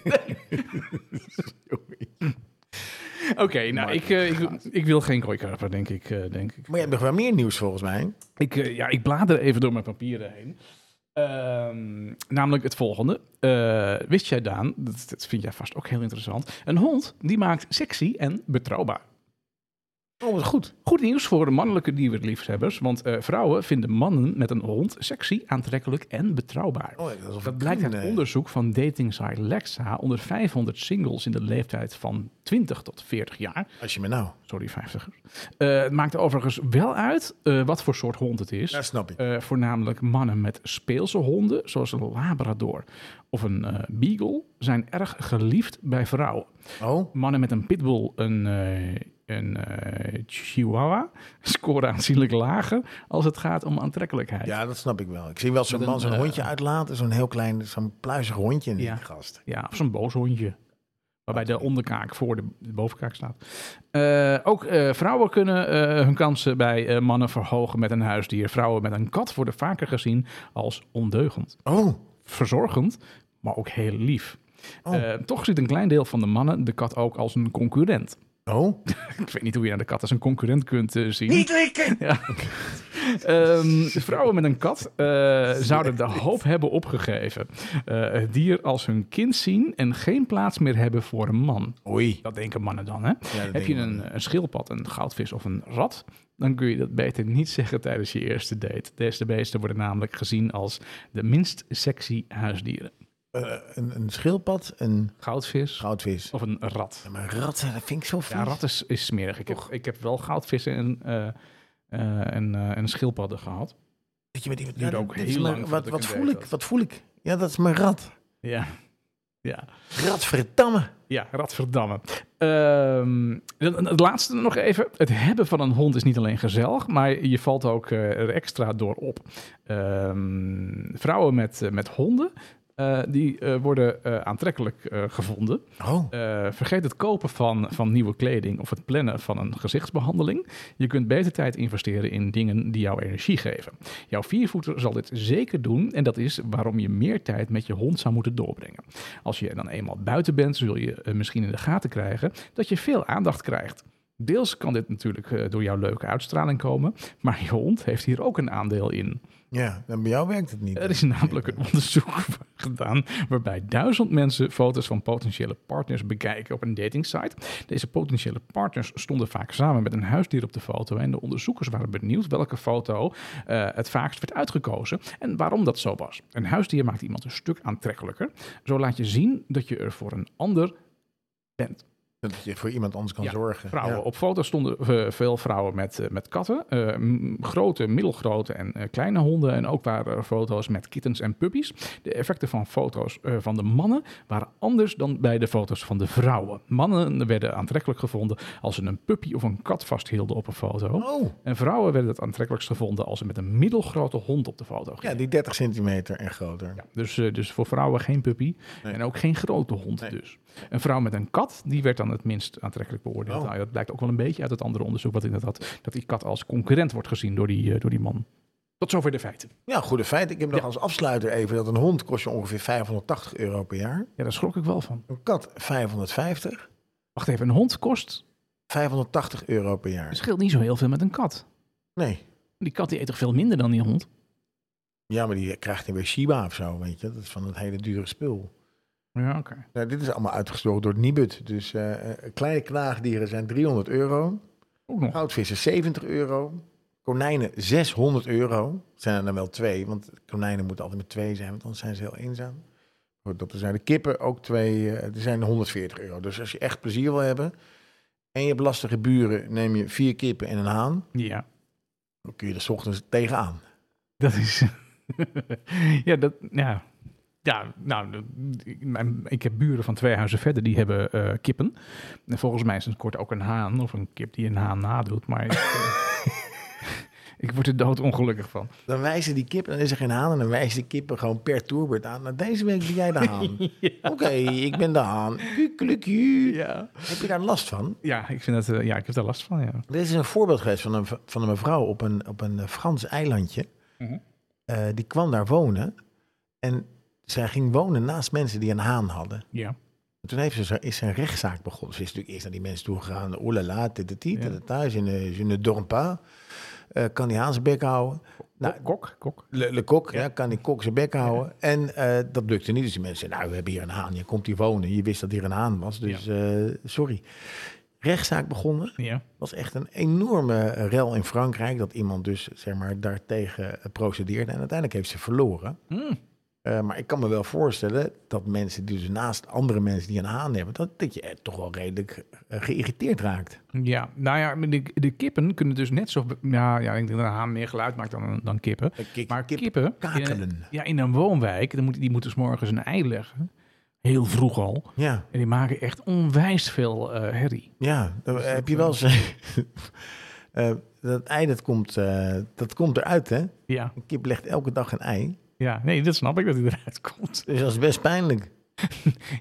Speaker 2: Oké, nou, ik, eh, ik, ik wil geen kooikarper, denk ik. eh, denk ik.
Speaker 1: Maar je hebt nog wel meer nieuws volgens mij.
Speaker 2: Ik, eh, ja, ik blader even door mijn papieren heen. Ehm, namelijk het volgende. Eh, wist jij, Daan, dat, dat vind jij vast ook heel interessant. Een hond die maakt sexy en betrouwbaar.
Speaker 1: Oh, wat goed.
Speaker 2: Goed nieuws voor de mannelijke dierenliefhebbers, want eh, vrouwen vinden mannen met een hond sexy, aantrekkelijk en betrouwbaar.
Speaker 1: Oh, dat is alsof
Speaker 2: Dat
Speaker 1: ik
Speaker 2: blijkt
Speaker 1: toen,
Speaker 2: uit
Speaker 1: eh,
Speaker 2: onderzoek van datingsite Lexa onder 500 singles in de leeftijd van 20 tot 40 jaar.
Speaker 1: Als je me nou.
Speaker 2: Sorry, 50 Eh het maakt overigens wel uit eh, wat voor soort hond het is.
Speaker 1: Dat snap ik.
Speaker 2: Eh, voornamelijk mannen met speelse honden, zoals een labrador of een eh, beagle, zijn erg geliefd bij vrouwen.
Speaker 1: Oh,
Speaker 2: Mannen met een pitbull, een, eh, een eh, chihuahua, scoren aanzienlijk lager als het gaat om aantrekkelijkheid.
Speaker 1: ja, dat snap ik wel. Ik zie wel zo'n
Speaker 2: Met
Speaker 1: man
Speaker 2: een,
Speaker 1: zo'n
Speaker 2: eh,
Speaker 1: hondje uitlaten. Zo'n heel klein, zo'n pluizig hondje in die
Speaker 2: Ja.
Speaker 1: gast.
Speaker 2: Ja, of zo'n boos hondje. Waarbij de onderkaak voor de, de bovenkaak staat. Eh, ook eh, vrouwen kunnen eh, hun kansen bij eh, mannen verhogen met een huisdier. Vrouwen met een kat worden vaker gezien als ondeugend.
Speaker 1: Oh,
Speaker 2: Verzorgend, maar ook heel lief.
Speaker 1: Oh.
Speaker 2: Eh, toch ziet een klein deel van de mannen de kat ook als een concurrent.
Speaker 1: oh.
Speaker 2: Ik weet niet hoe je naar de kat als een concurrent kunt eh, zien.
Speaker 3: Niet likken!
Speaker 2: Ja. Ehm, vrouwen met een kat eh, zouden de hoop hebben opgegeven. Eh, het dier als hun kind zien en geen plaats meer hebben voor een man.
Speaker 1: Oei.
Speaker 2: Dat denken mannen dan, hè? Heb
Speaker 1: denken
Speaker 2: je
Speaker 1: mannen.
Speaker 2: een, een schildpad, een goudvis of een rat... dan kun je dat beter niet zeggen tijdens je eerste date. Deze beesten worden namelijk gezien als de minst sexy huisdieren.
Speaker 1: Eh, een, een schildpad, een
Speaker 2: Goudvis
Speaker 1: goudvis.
Speaker 2: of een rat.
Speaker 1: Ja, maar ratten, dat vind ik zo vies.
Speaker 2: Ja, rat is, is smerig. Ik heb, ik heb wel goudvissen en, eh eh, en, eh, en schildpadden gehad.
Speaker 1: Dat je met iemand...
Speaker 2: Duurde
Speaker 1: ja,
Speaker 2: ook
Speaker 1: dit is
Speaker 2: heel
Speaker 1: mijn-
Speaker 2: lang voordat
Speaker 1: Wat,
Speaker 2: ik
Speaker 1: wat
Speaker 2: hem
Speaker 1: voel
Speaker 2: deed,
Speaker 1: ik?
Speaker 2: dat.
Speaker 1: Wat voel ik? Ja, dat is mijn rat.
Speaker 2: Ja. Ja.
Speaker 1: Radverdamme.
Speaker 2: Ja, radverdamme. Ehm, dan- het laatste nog even. Het hebben van een hond is niet alleen gezellig, maar je valt ook eh, er extra door op. Ehm, vrouwen met, eh, met honden, eh, die eh, worden eh, aantrekkelijk eh, gevonden.
Speaker 1: Oh.
Speaker 2: Eh, vergeet het kopen van, van nieuwe kleding of het plannen van een gezichtsbehandeling. Je kunt beter tijd investeren in dingen die jou energie geven. Jouw viervoeter zal dit zeker doen en dat is waarom je meer tijd met je hond zou moeten doorbrengen. Als je dan eenmaal buiten bent, zul je eh, misschien in de gaten krijgen dat je veel aandacht krijgt. Deels kan dit natuurlijk eh, door jouw leuke uitstraling komen, maar je hond heeft hier ook een aandeel in.
Speaker 1: Ja, dan bij jou werkt het niet.
Speaker 2: Er is namelijk een onderzoek gedaan waarbij duizend mensen foto's van potentiële partners bekijken op een datingsite. Deze potentiële partners stonden vaak samen met een huisdier op de foto en de onderzoekers waren benieuwd welke foto eh, het vaakst werd uitgekozen en waarom dat zo was. Een huisdier maakt iemand een stuk aantrekkelijker. Zo laat je zien dat je er voor een ander bent.
Speaker 1: Dat je voor iemand anders kan
Speaker 2: Ja,
Speaker 1: zorgen.
Speaker 2: Vrouwen.
Speaker 1: Ja.
Speaker 2: Op foto's stonden eh, veel vrouwen met, eh, met katten. Eh, m- grote, middelgrote en eh, kleine honden. En ook waren er foto's met kittens en puppies. De effecten van foto's eh, van de mannen waren anders dan bij de foto's van de vrouwen. Mannen werden aantrekkelijk gevonden als ze een puppy of een kat vasthielden op een foto.
Speaker 1: Oh.
Speaker 2: En vrouwen werden het aantrekkelijkst gevonden als ze met een middelgrote hond op de foto gingen.
Speaker 1: Ja, die 30 centimeter en groter.
Speaker 2: Ja, dus, eh, dus voor vrouwen geen puppy en ook geen grote hond dus. Een vrouw met een kat, die werd dan het minst aantrekkelijk beoordeeld.
Speaker 1: Oh.
Speaker 2: Nou, dat blijkt ook wel een beetje uit het andere onderzoek wat ik net had. Dat die kat als concurrent wordt gezien door die, eh, door die man. Tot zover de feiten.
Speaker 1: Ja, Nou, goede feit. Ik heb nog als afsluiter even dat een hond kost je ongeveer 580 euro per jaar.
Speaker 2: Ja, daar schrok ik wel van.
Speaker 1: Een kat 550.
Speaker 2: Wacht even, een hond kost,
Speaker 1: 580 euro per
Speaker 2: het
Speaker 1: jaar.
Speaker 2: scheelt niet zo heel veel met een kat.
Speaker 1: Nee.
Speaker 2: Die kat die eet toch veel minder dan die hond?
Speaker 1: Ja, maar die krijgt hij bij Shiba of zo, weet je. Dat is van het hele dure spul.
Speaker 2: Ja, oké.
Speaker 1: Nou, dit is allemaal uitgesproken door het Nibud. Dus eh, eh, kleine knaagdieren zijn 300 euro.
Speaker 2: Ook nog.
Speaker 1: Goudvissen 70 euro. Konijnen 600 euro. Zijn er dan wel twee, want konijnen moeten altijd met twee zijn, want anders zijn ze heel eenzaam. Goed, Dat er zijn de kippen ook twee, eh, er zijn 140 euro. Dus als je echt plezier wil hebben en je hebt lastige buren, neem je vier kippen en een haan.
Speaker 2: Ja,
Speaker 1: Dan kun je er 's ochtends tegenaan.
Speaker 2: dat is... ja, dat... Ja. Ja, nou, dat- ik- mijn- ik heb buren van twee huizen verder, die hebben eh, kippen. En volgens mij is het kort ook een haan of een kip die een haan nadoet. Maar ik, eh, ik word er dood ongelukkig van.
Speaker 1: Dan wijzen die kippen, dan is er geen haan en dan wijzen de kippen gewoon per toerbeurt aan. Nou, deze week ben jij de haan. Oké, ik ben de haan. Kukelukju.
Speaker 2: Ja,
Speaker 1: Heb je daar last van?
Speaker 2: ja, ik, vind dat, eh, ja ik heb daar last van, ja.
Speaker 1: Dit is een voorbeeld geweest van een, v- van een mevrouw op een, op een eh, Frans eilandje.
Speaker 2: Mhm.
Speaker 1: Eh, die kwam daar wonen. En zij ging wonen naast mensen die een haan hadden.
Speaker 2: Ja,
Speaker 1: En toen heeft ze, zo- is ze een rechtszaak begonnen. Ze is natuurlijk eerst naar die mensen toe gegaan. Oh la la, tititi,
Speaker 2: Ja.
Speaker 1: tata, je ne, je ne dort pas. Eh, kan die haan zijn bek houden? Nou,
Speaker 2: kok, kok.
Speaker 1: Le, Le Kok, ja. kan die kok zijn bek houden. En eh, dat lukte niet. Dus die mensen zeiden, nou, we hebben hier een haan. Je komt hier wonen. Je wist dat hier een haan was. Dus eh, sorry. Rechtszaak begonnen
Speaker 2: Ja,
Speaker 1: was echt een enorme eh, rel in Frankrijk. Dat iemand dus zeg maar, daartegen eh, procedeerde. En uiteindelijk heeft ze verloren.
Speaker 2: Hmm.
Speaker 1: Eh, maar ik kan me wel voorstellen dat mensen die dus naast andere mensen die een haan hebben, dat, dat je eh, toch wel redelijk eh, geïrriteerd raakt.
Speaker 2: ja. nou ja, maar de, de kippen kunnen dus net zo... Ja, ja, ik denk dat een haan meer geluid maakt dan, dan kippen.
Speaker 1: kip-
Speaker 2: maar
Speaker 1: Eh, kip-
Speaker 2: kippen...
Speaker 1: kakelen.
Speaker 2: in- ja, in een woonwijk, dan moet, die moeten s morgens een ei leggen. Heel vroeg al.
Speaker 1: Ja,
Speaker 2: En die maken echt onwijs veel eh, herrie.
Speaker 1: ja. Dan heb je wel eens. eh, dat ei dat komt, eh, dat komt eruit, hè?
Speaker 2: Ja,
Speaker 1: Een kip legt elke dag een ei.
Speaker 2: ja, nee, dat snap ik dat hij eruit komt.
Speaker 1: Dus dat is best pijnlijk.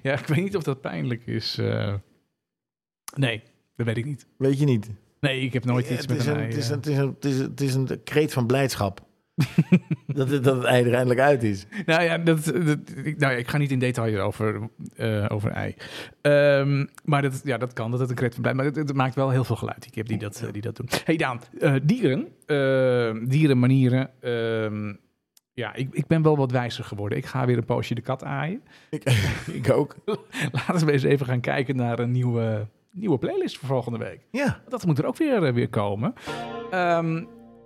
Speaker 2: Ja, ik weet niet of dat pijnlijk is. eh. nee, dat weet ik niet.
Speaker 1: Weet je niet.
Speaker 2: Nee, ik heb nooit iets
Speaker 1: het,
Speaker 2: met
Speaker 1: is
Speaker 2: een,
Speaker 1: een,
Speaker 2: ei,
Speaker 1: het, is
Speaker 2: eh.
Speaker 1: een, het, is een, het, is, het is een kreet van blijdschap. dat, het- dat het ei er eindelijk uit is.
Speaker 2: Nou ja, dat, dat, ik, nou ja, ik ga niet in detail hierover eh, over ei. Ehm, maar dat, ja, dat kan, dat het een kreet van blij. Maar het, het maakt wel heel veel geluid, die kip die dat, eh, die dat doen. hey Daan, eh, dieren, eh, dierenmanieren. ehm, ja, ik, ik ben wel wat wijzer geworden. Ik ga weer een poosje de kat aaien.
Speaker 1: Ik, ik ook.
Speaker 2: Laten we eens even gaan kijken naar een nieuwe, nieuwe playlist voor volgende week.
Speaker 1: Ja.
Speaker 2: Dat moet er ook weer, eh, weer komen. Ehm,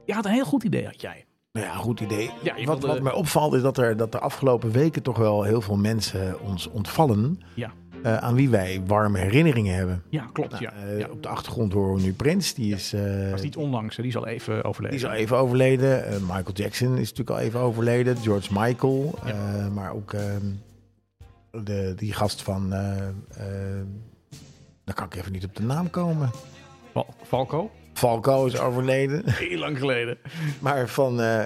Speaker 2: je had een heel goed idee, had jij.
Speaker 1: Nou ja, goed idee.
Speaker 2: Ja, je
Speaker 1: wat,
Speaker 2: wilde-
Speaker 1: wat mij opvalt is dat er dat de afgelopen weken toch wel heel veel mensen ons ontvallen.
Speaker 2: Ja.
Speaker 1: eh, aan wie wij warme herinneringen hebben.
Speaker 2: Ja, klopt.
Speaker 1: Nou,
Speaker 2: ja.
Speaker 1: eh,
Speaker 2: ja.
Speaker 1: Op de achtergrond horen we nu Prins. Die is, eh,
Speaker 2: Dat is niet onlangs, hè. die zal even overleven.
Speaker 1: die is al even overleden. Eh, Michael Jackson is natuurlijk al even overleden. George Michael. eh, maar ook ehm, de, die gast van... eh, eh, daar kan ik even niet op de naam komen.
Speaker 2: Val- Valko?
Speaker 1: Falco is overleden.
Speaker 2: Heel lang geleden.
Speaker 1: Maar van eh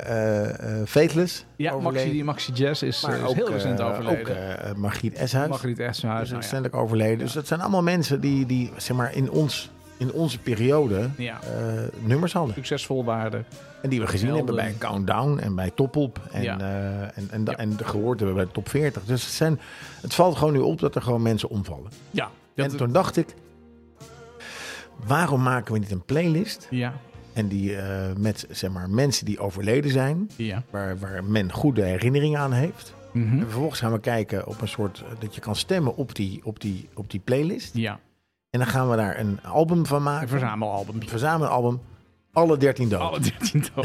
Speaker 1: eh, eh, Faithless.
Speaker 2: Ja, Maxi, Maxi Jazz is,
Speaker 1: Maar
Speaker 2: is
Speaker 1: ook,
Speaker 2: heel recent
Speaker 1: eh,
Speaker 2: overleden.
Speaker 1: Ook eh, Margriet Eshuis.
Speaker 2: Margriet Essenhuis.
Speaker 1: is
Speaker 2: nou ja.
Speaker 1: recentelijk overleden. Dus dat zijn allemaal mensen die, die zeg maar, in, ons, in onze periode
Speaker 2: Ja.
Speaker 1: eh, nummers hadden.
Speaker 2: Succesvol waren.
Speaker 1: En die we gezien
Speaker 2: Helden.
Speaker 1: hebben bij Countdown en bij Topop. En,
Speaker 2: Ja.
Speaker 1: eh, en, en, da-
Speaker 2: Ja.
Speaker 1: en gehoord hebben bij Top 40. Dus het, zijn, het valt gewoon nu op dat er gewoon mensen omvallen.
Speaker 2: Ja.
Speaker 1: en toen dacht ik... Waarom maken we niet een playlist?
Speaker 2: Ja.
Speaker 1: En die eh, met zeg maar, mensen die overleden zijn,
Speaker 2: Ja.
Speaker 1: waar, waar men goede herinneringen aan heeft.
Speaker 2: Mhm.
Speaker 1: En vervolgens gaan we kijken op een soort eh, dat je kan stemmen op die, op die, op die playlist.
Speaker 2: Ja.
Speaker 1: En dan gaan we daar een album van
Speaker 2: Een
Speaker 1: maken.
Speaker 2: verzamelalbum.
Speaker 1: Een verzamelalbum. Alle 13 doden.
Speaker 2: Alle 13 dood.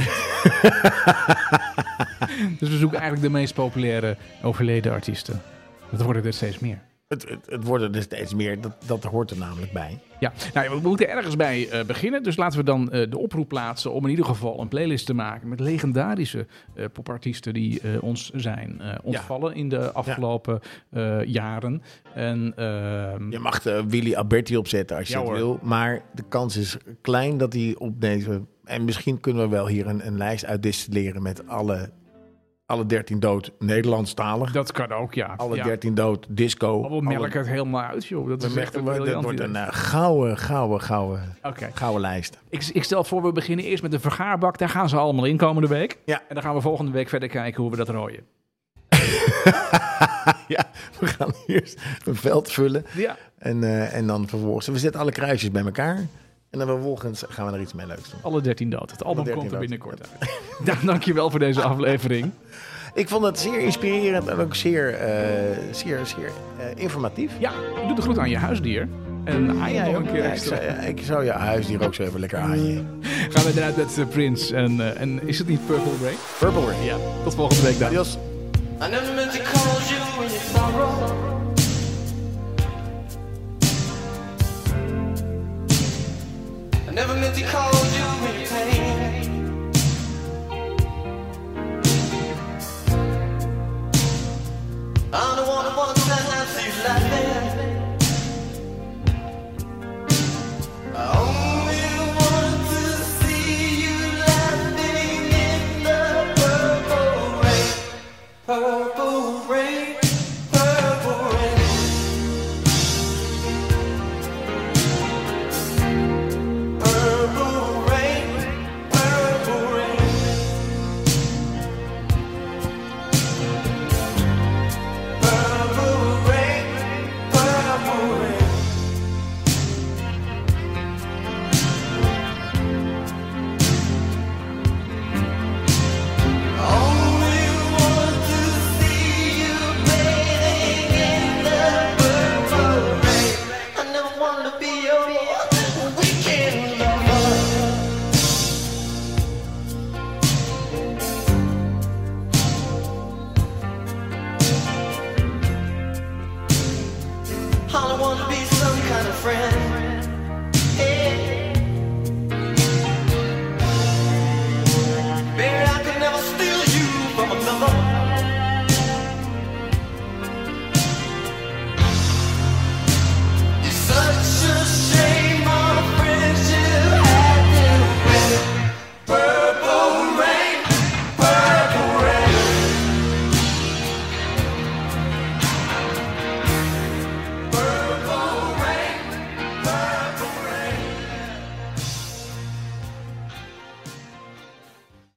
Speaker 2: dus we zoeken eigenlijk de meest populaire overleden artiesten. Dat worden er steeds meer.
Speaker 1: Het, het, het worden er dus steeds meer. Dat, dat hoort er namelijk bij.
Speaker 2: Ja, nou, ja, we moeten ergens bij eh, beginnen. Dus laten we dan eh, de oproep plaatsen om in ieder geval een playlist te maken met legendarische eh, popartiesten die eh, ons zijn eh, ontvallen in de afgelopen eh, jaren. En ehm,
Speaker 1: Je mag eh, Willy Alberti opzetten als je
Speaker 2: Ja,
Speaker 1: het
Speaker 2: hoor.
Speaker 1: wil. Maar de kans is klein dat hij op deze... En misschien kunnen we wel hier een, een lijst uitdistilleren met alle, alle 13 dood Nederlandstalig.
Speaker 2: dat kan ook, ja.
Speaker 1: alle
Speaker 2: ja.
Speaker 1: 13 dood disco.
Speaker 2: Oh, we
Speaker 1: alle-
Speaker 2: merken het helemaal uit, joh. Dat
Speaker 1: we
Speaker 2: is echt
Speaker 1: merken-
Speaker 2: een
Speaker 1: we- dat
Speaker 2: briljant
Speaker 1: wordt een
Speaker 2: idee.
Speaker 1: eh, gouden, gouden, gouden,
Speaker 2: Oké,
Speaker 1: gouden lijst.
Speaker 2: ik, ik stel voor we beginnen eerst met de vergaarbak. Daar gaan ze allemaal in komende week.
Speaker 1: Ja.
Speaker 2: En dan gaan we volgende week verder kijken hoe we dat rooien.
Speaker 1: ja, we gaan eerst een veld vullen.
Speaker 2: Ja.
Speaker 1: En, eh, en dan vervolgens. We zetten alle kruisjes bij elkaar. En dan vervolgens gaan we er iets mee leuks doen.
Speaker 2: Alle 13 dood. Het album
Speaker 1: 13
Speaker 2: komt er
Speaker 1: dood.
Speaker 2: binnenkort uit. Dank dankjewel voor deze aflevering.
Speaker 1: Ik vond het zeer inspirerend en ook zeer, eh, zeer, zeer eh, informatief.
Speaker 2: Ja, doe de groet aan je huisdier. En aan je nog een keer
Speaker 1: Ah, Ja, ik,
Speaker 2: extra.
Speaker 1: zou, ja, ik zou je huisdier ook zo even lekker aaien.
Speaker 2: Gaan we eruit met eh, Prince. En, eh, en is het niet Purple Rain?
Speaker 1: Purple Rain.
Speaker 2: Ja, tot volgende week dan.
Speaker 1: Adios.
Speaker 6: I never meant to cause you any sorrow. I never meant to cause you any pain.